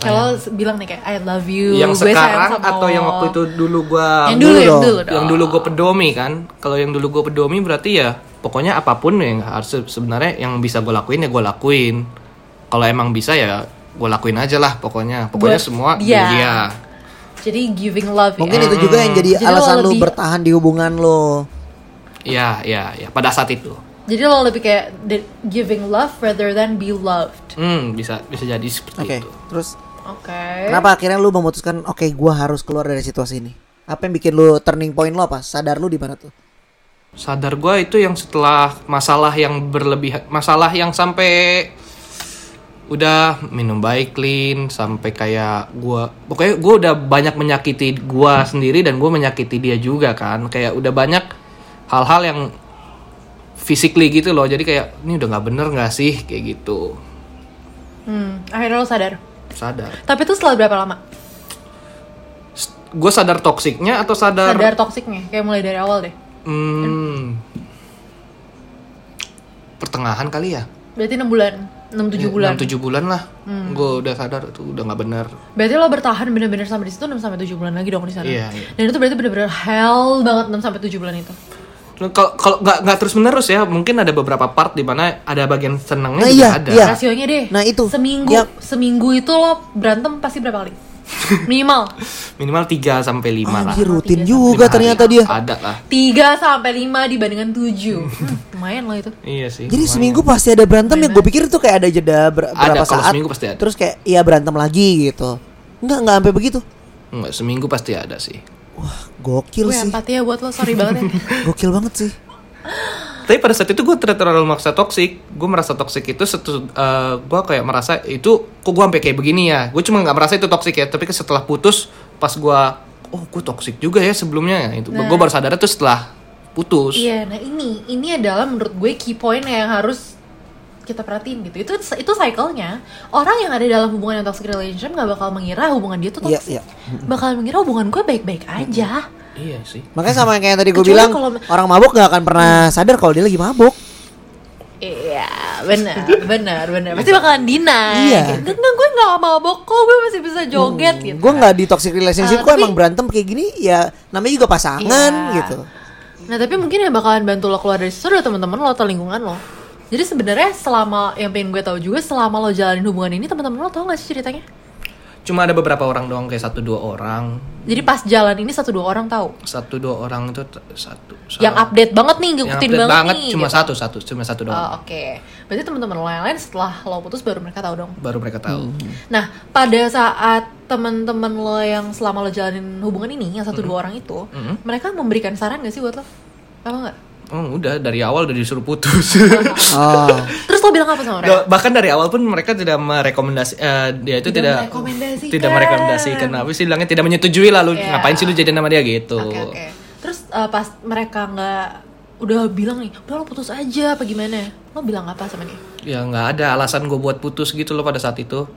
kalau bilang nih kayak I love you yang gue sayang sekarang sama atau lo. yang waktu itu dulu gua yang dulu dulu yang dong. dulu dong. yang dulu gue pedomi kan kalau yang dulu gue pedomi berarti ya pokoknya apapun yang harus sebenarnya yang bisa gue lakuin ya gue lakuin kalau emang bisa ya gue lakuin aja lah pokoknya Buat pokoknya semua dia. dia, dia. jadi giving love ya. Mungkin Iya. itu juga yang jadi, Jadi lo alasan lo lebih- bertahan di hubungan lo. ya ya ya pada saat itu jadi lo lebih kayak the- giving love rather than be loved hmm bisa bisa jadi seperti Oke, itu terus oke Gitu. kenapa akhirnya lo memutuskan, oke, gue harus keluar dari situasi ini? Apa yang bikin lo turning point lo apa? Sadar lo di mana tuh? sadar gue itu yang setelah masalah yang berlebihan masalah yang sampai udah minum baik clean sampai kayak gua pokoknya gua udah banyak menyakiti gua sendiri dan gua menyakiti dia juga kan kayak udah banyak hal-hal yang physically gitu loh jadi kayak ini udah nggak bener nggak sih kayak gitu Hmm, akhirnya lo sadar. sadar Tapi itu setelah berapa lama? gue sadar toksiknya atau sadar, Sadar toksiknya, kayak mulai dari awal deh. Hmm, pertengahan kali ya Berarti 6 bulan, 6 Iya, 7 bulan. 6-7 bulan lah Hmm. gue udah sadar itu udah nggak bener Berarti lo bertahan bener-bener sampai di situ 6 sampai 7 bulan lagi dong di sana. Iya, iya. Dan itu berarti bener-bener hell banget 6 sampai 7 bulan itu. kalau kalau nggak nggak terus menerus ya mungkin ada beberapa part di mana ada bagian senangnya Nah, juga iya, ada iya. Rasionya deh. Nah, itu. Seminggu, Yap. seminggu itu lo berantem pasti berapa kali? Minimal minimal 3 sampai 5 lah Anjir, rutin Tiga, juga Lima ternyata hari. dia. ada lah 3 sampai 5 dibandingkan 7. Hmm, lumayan lo itu. iya sih Jadi lumayan. seminggu pasti ada berantem ya gue pikir itu kayak ada jeda ber- Ada, berapa kalau saat. seminggu pasti ada. Terus kayak iya berantem lagi gitu. Enggak, enggak sampai begitu. nggak seminggu pasti ada sih Gokil Gue sih. empati ya buat lo, sorry banget ya. Gokil banget sih. tapi pada saat itu gue tidak terlalu maksa toksik gue merasa toksik itu setu, eh, gue kayak merasa itu kok gue sampai kayak begini ya gue cuma nggak merasa itu toksik ya tapi setelah putus pas gue oh gue toksik juga ya sebelumnya itu Nah. gue baru sadar itu setelah putus Iya, nah ini ini adalah menurut gue key point yang harus kita perhatiin gitu. Itu itu cycle-nya. Orang yang ada dalam hubungan yang toxic relationship nggak bakal mengira hubungan dia tuh Iya, toxic. iya. Bakal mengira hubungan gue baik-baik aja. iya sih Makanya sama yang kayak tadi gue Kecuali bilang kalau- orang mabuk gak akan pernah sadar kalau dia lagi mabuk. Iya, benar, benar, benar. Pasti bakalan deny. Iya. Mm, Gitu. Nah, gue nggak mabok kok, gue masih bisa joget Hmm. gitu. Gue nggak di toxic relationship, Eh, gue tapi- emang berantem kayak gini ya namanya juga pasangan Iya. gitu. Nah tapi mungkin yang bakalan bantu lo keluar dari situ adalah teman-teman lo atau lingkungan lo. Jadi sebenarnya selama yang pengen gue tahu juga selama lo jalanin hubungan ini teman-teman lo tau gak sih ceritanya? cuma ada beberapa orang doang kayak satu dua orang Jadi pas jalan ini satu dua orang tahu. satu dua orang itu t- satu sa- yang update banget nih yang ngikutin update banget, banget nih cuma gitu. satu satu cuma Oh, satu doang oke berarti teman-teman lo yang lain setelah lo putus baru mereka tahu dong baru mereka tahu nah pada saat teman-teman lo yang selama lo jalanin hubungan ini yang satu dua orang itu Mhm. mereka memberikan saran gak sih buat lo apa nggak oh udah dari awal udah disuruh putus Oh, terus lo bilang apa sama mereka Da- bahkan dari awal pun mereka tidak merekomendasi eh, dia itu Tidak tidak merekomendasikan. tidak merekomendasikan apa sih bilangnya tidak menyetujui lalu Iya. ngapain sih lu jadi nama dia gitu Oke oke. Terus uh, pas eh, mereka nggak udah bilang nih udah lo putus aja apa gimana lo bilang apa sama dia ya nggak ada alasan gue buat putus gitu loh pada saat itu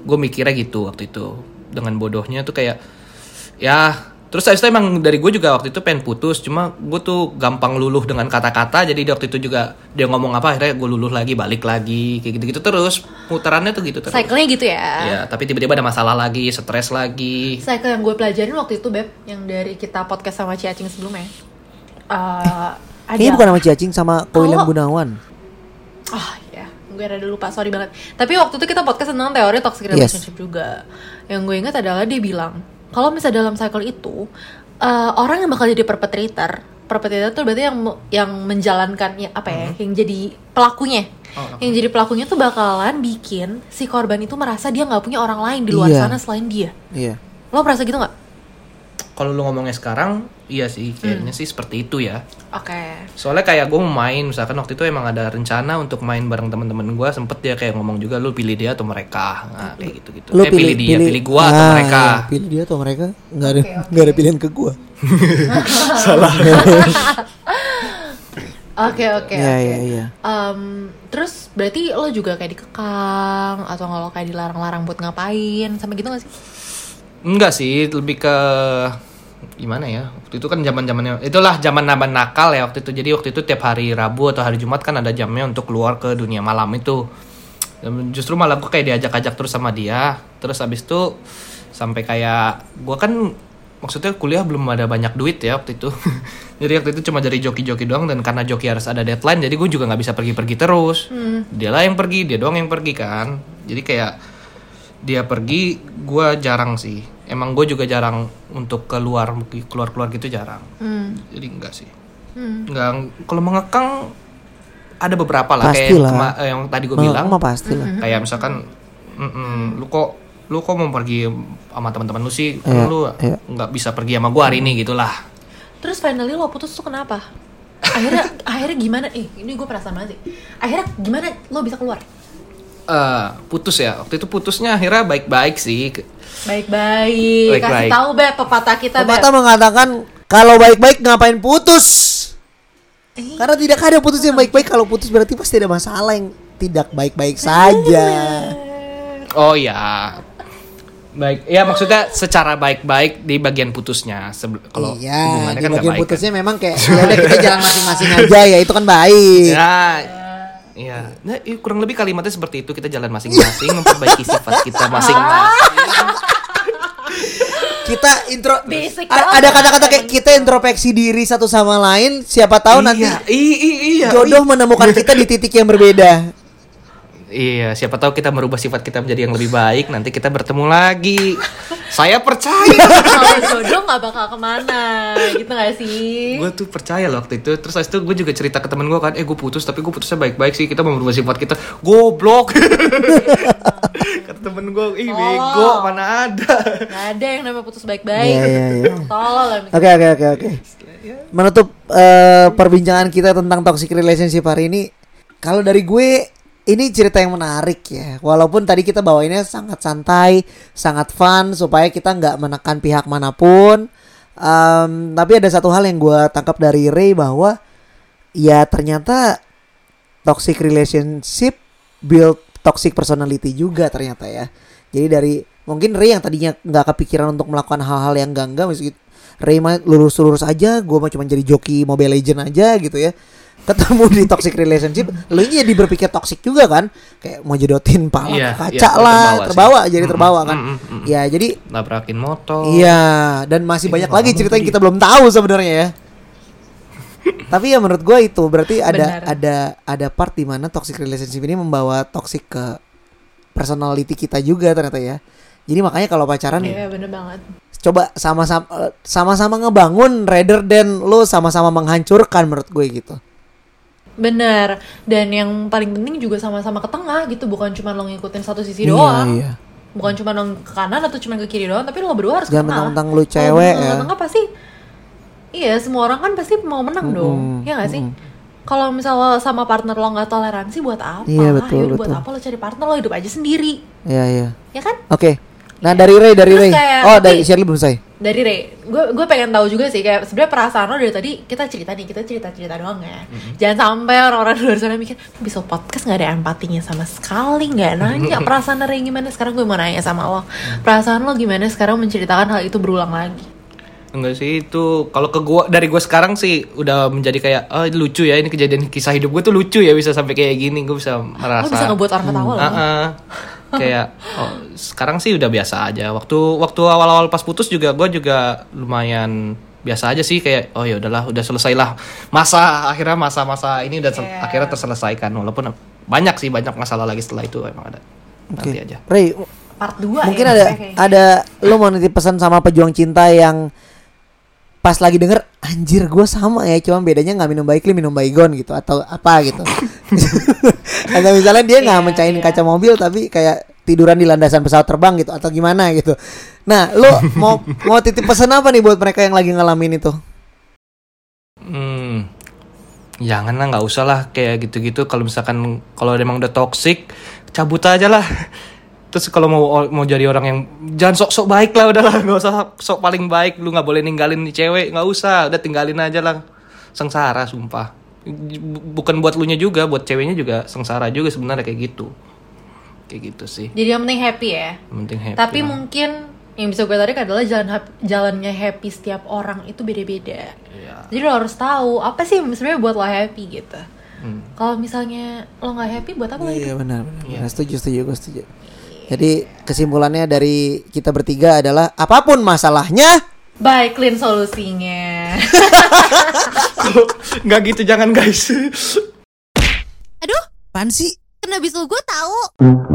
gue mikirnya gitu waktu itu dengan bodohnya tuh kayak ya terus habis itu emang dari gue juga waktu itu pengen putus cuma gue tuh gampang luluh dengan kata-kata jadi di waktu itu juga dia ngomong apa akhirnya gue luluh lagi balik lagi kayak gitu-gitu terus putarannya tuh gitu terus cycle-nya gitu ya ya tapi tiba-tiba ada masalah lagi stres lagi cycle yang gue pelajarin waktu itu beb yang dari kita podcast sama Ciacing sebelumnya Eh, Kayaknya bukan sama Ciacing sama Kalau- Koilem Gunawan. Oh ya, gue rada lupa, sorry banget. Tapi waktu itu kita podcast tentang teori toxic relationship juga. Yang gue ingat adalah dia bilang, kalau misalnya dalam cycle itu eh, orang yang bakal jadi perpetrator, perpetrator tuh berarti yang yang menjalankan ya, apa ya, Mm-hmm. yang jadi pelakunya. Oh, uh-huh. Yang jadi pelakunya tuh bakalan bikin si korban itu merasa dia nggak punya orang lain di luar Iya. sana selain dia. Iya. Lo merasa gitu nggak? kalau lu ngomongnya sekarang iya sih kayaknya sih seperti itu ya Oke. soalnya kayak gue mau main misalkan waktu itu emang ada rencana untuk main bareng teman-teman gue sempet dia kayak ngomong juga lu pilih dia atau mereka nah, kayak gitu gitu eh, pilih, dia pilih, gue atau Ah, mereka iya, pilih dia atau mereka? Enggak ada nggak ada pilihan ke gua. Oke oke Iya, oke. iya, iya. Em, terus berarti lo juga kayak dikekang atau nggak lo kayak dilarang-larang buat ngapain sama gitu gak sih? enggak sih lebih ke gimana ya waktu itu kan zaman zamannya itulah zaman zaman nakal ya waktu itu jadi waktu itu tiap hari Rabu atau hari Jumat kan ada jamnya untuk keluar ke dunia malam itu Dan justru malah gue kayak diajak-ajak terus sama dia terus abis itu sampai kayak gue kan maksudnya kuliah belum ada banyak duit ya waktu itu jadi waktu itu cuma jadi joki-joki doang dan karena joki harus ada deadline jadi gue juga nggak bisa pergi-pergi terus dia lah yang pergi dia doang yang pergi kan jadi kayak dia pergi gue jarang sih emang gue juga jarang untuk keluar keluar keluar gitu jarang jadi enggak sih enggak kalau mengekang ada beberapa lah kayak Pastilah. kema- eh, yang tadi gue Ma- bilang ma pasti Hmm. lah. kayak misalkan "Mm-mm, lu kok lu kok mau pergi sama teman-teman lu sih Kan Iya, lu iya. nggak bisa pergi sama gue hari ini gitu gitulah Terus finally lo putus tuh kenapa? Akhirnya akhirnya gimana? Eh ini gue penasaran banget sih. Akhirnya gimana lo bisa keluar? Eh, putus ya waktu itu putusnya akhirnya baik-baik sih Ke- Baik-baik. Kasih Baik-baik. tahu beb pepatah kita beb. Pepatah mengatakan kalau baik-baik ngapain putus? Eh. Karena tidak ada putus yang baik-baik. Kalau putus berarti pasti ada masalah yang tidak baik-baik saja. Oh ya. Baik, ya maksudnya secara baik-baik di bagian putusnya sebelum kalau Iya, hubungannya di kan nggak bagian baik. putusnya memang kayak ya udah kita jalan masing-masing aja ya, itu kan baik. Ya. Iya. Nah, i- kurang lebih kalimatnya seperti itu kita jalan masing-masing memperbaiki sifat kita masing-masing. Kita intro Basic A- banget. ada kata-kata kayak kita introspeksi diri satu sama lain, siapa tahu nanti Iya, i- i- iya. jodoh menemukan kita di titik yang berbeda. Iya, siapa tahu kita merubah sifat kita menjadi yang lebih baik, nanti kita bertemu lagi. Saya percaya. Kalau jodoh nggak bakal kemana, gitu gak sih? gue tuh percaya loh waktu itu terus habis itu gue juga cerita ke temen gue kan eh gue putus tapi gue putusnya baik-baik sih kita mau berubah sifat kita goblok kata temen gue ih bego mana ada Gak ada yang namanya putus Iya, baik-baik. iya, iya. Tolol lah. Oke oke oke oke. Menutup eh, perbincangan kita tentang toxic relationship hari ini, kalau dari gue ini cerita yang menarik ya. Walaupun tadi kita bawainnya sangat santai, sangat fun supaya kita nggak menekan pihak manapun. Em, tapi ada satu hal yang gue tangkap dari Ray bahwa ya ternyata toxic relationship build toxic personality juga ternyata ya. Jadi dari mungkin Ray yang tadinya nggak kepikiran untuk melakukan hal-hal yang enggak enggak meski Ray mah lurus-lurus aja, gue mah cuma jadi joki Mobile Legend aja gitu ya. Ketemu di toxic relationship, lu ini jadi berpikir toxic juga kan? Kayak mau jodotin pala ke Iya, kaca iya, lah, terbawa sih. terbawa, jadi terbawa kan. mm, mm, Ya, jadi nabrakin motor Iya, dan masih banyak lagi cerita yang kita belum tahu sebenarnya ya. Tapi ya menurut gue itu berarti Benar. ada ada ada part di mana toxic relationship ini membawa toxic ke personality kita juga ternyata ya. Jadi makanya kalau pacaran Iya bener banget. coba sama-sama eh, sama-sama ngebangun rather than lo sama-sama menghancurkan menurut gue gitu. Bener. Dan yang paling penting juga sama-sama ke tengah gitu, bukan cuma lo ngikutin satu sisi Iya, doang. iya. Bukan cuma lo ke kanan atau cuma ke kiri doang, tapi lo berdua harus ke Jangan tengah. mentang-mentang lu Kalau cewek, menang ya. ke tengah pasti Iya, semua orang kan pasti mau menang dong. Iya gak sih? Kalau misalnya sama partner lo nggak toleransi buat apa? Iya, betul, Yaudah, buat betul. apa lo cari partner lo hidup aja sendiri. Iya iya. Ya kan? Oke. Nah dari Ray dari Terus Ray. kayak- Oh tapi- dari Shirley belum selesai. dari Ray, gue gue pengen tahu juga sih kayak sebenarnya perasaan lo dari tadi kita cerita nih kita cerita cerita doang ya, jangan sampai orang-orang di luar sana mikir bisa podcast nggak ada empatinya sama sekali nggak nanya perasaan Ray gimana sekarang gue mau nanya sama lo perasaan lo gimana sekarang menceritakan hal itu berulang lagi Enggak sih itu kalau ke gua dari gua sekarang sih udah menjadi kayak ah, lucu ya ini kejadian kisah hidup gua tuh lucu ya bisa sampai kayak gini gua bisa merasa lo bisa ngebuat orang ketawa lo Ah, ah. kayak oh, sekarang sih udah biasa aja waktu waktu awal-awal pas putus juga gue juga lumayan biasa aja sih kayak oh ya udahlah udah selesailah masa akhirnya masa-masa ini udah sel- akhirnya terselesaikan walaupun banyak sih banyak masalah lagi setelah itu emang ada nanti aja Ray, part ya, 2 mungkin ada ada lo mau nitip pesan sama pejuang cinta yang pas lagi denger anjir gue sama ya cuma bedanya nggak minum baikli minum baygon gitu atau apa gitu atau misalnya dia nggak Iya, mencahin iya. kaca mobil tapi kayak tiduran di landasan pesawat terbang gitu atau gimana gitu nah lo mau mau titip pesan apa nih buat mereka yang lagi ngalamin itu Hmm, janganlah nggak usah lah kayak gitu-gitu. Kalau misalkan kalau emang udah toxic, cabut aja lah. Terus kalau mau mau jadi orang yang jangan sok-sok baik lah udahlah nggak usah sok paling baik. Lu nggak boleh ninggalin nih cewek nggak usah. Udah tinggalin aja lah. Sengsara sumpah. Bu- Bukan buat lu nya juga, buat ceweknya juga sengsara juga sebenarnya kayak gitu. Kayak gitu sih. jadi yang penting happy ya Yang Penting happy. Tapi lah. mungkin yang bisa gue tarik adalah jalan hap- jalannya happy setiap orang itu beda-beda. Iya. Jadi lo harus tahu apa sih yang sebenarnya buat lo happy gitu. Hmm. Kalau misalnya lo nggak happy buat apa lo hidup? Iya benar, benar. benar. Setuju, setuju, gue setuju. Jadi kesimpulannya dari kita bertiga adalah apapun masalahnya, Baik, clean solusinya. nggak gitu jangan guys. Aduh, pansi kena bisul Kan gue tahu. Thank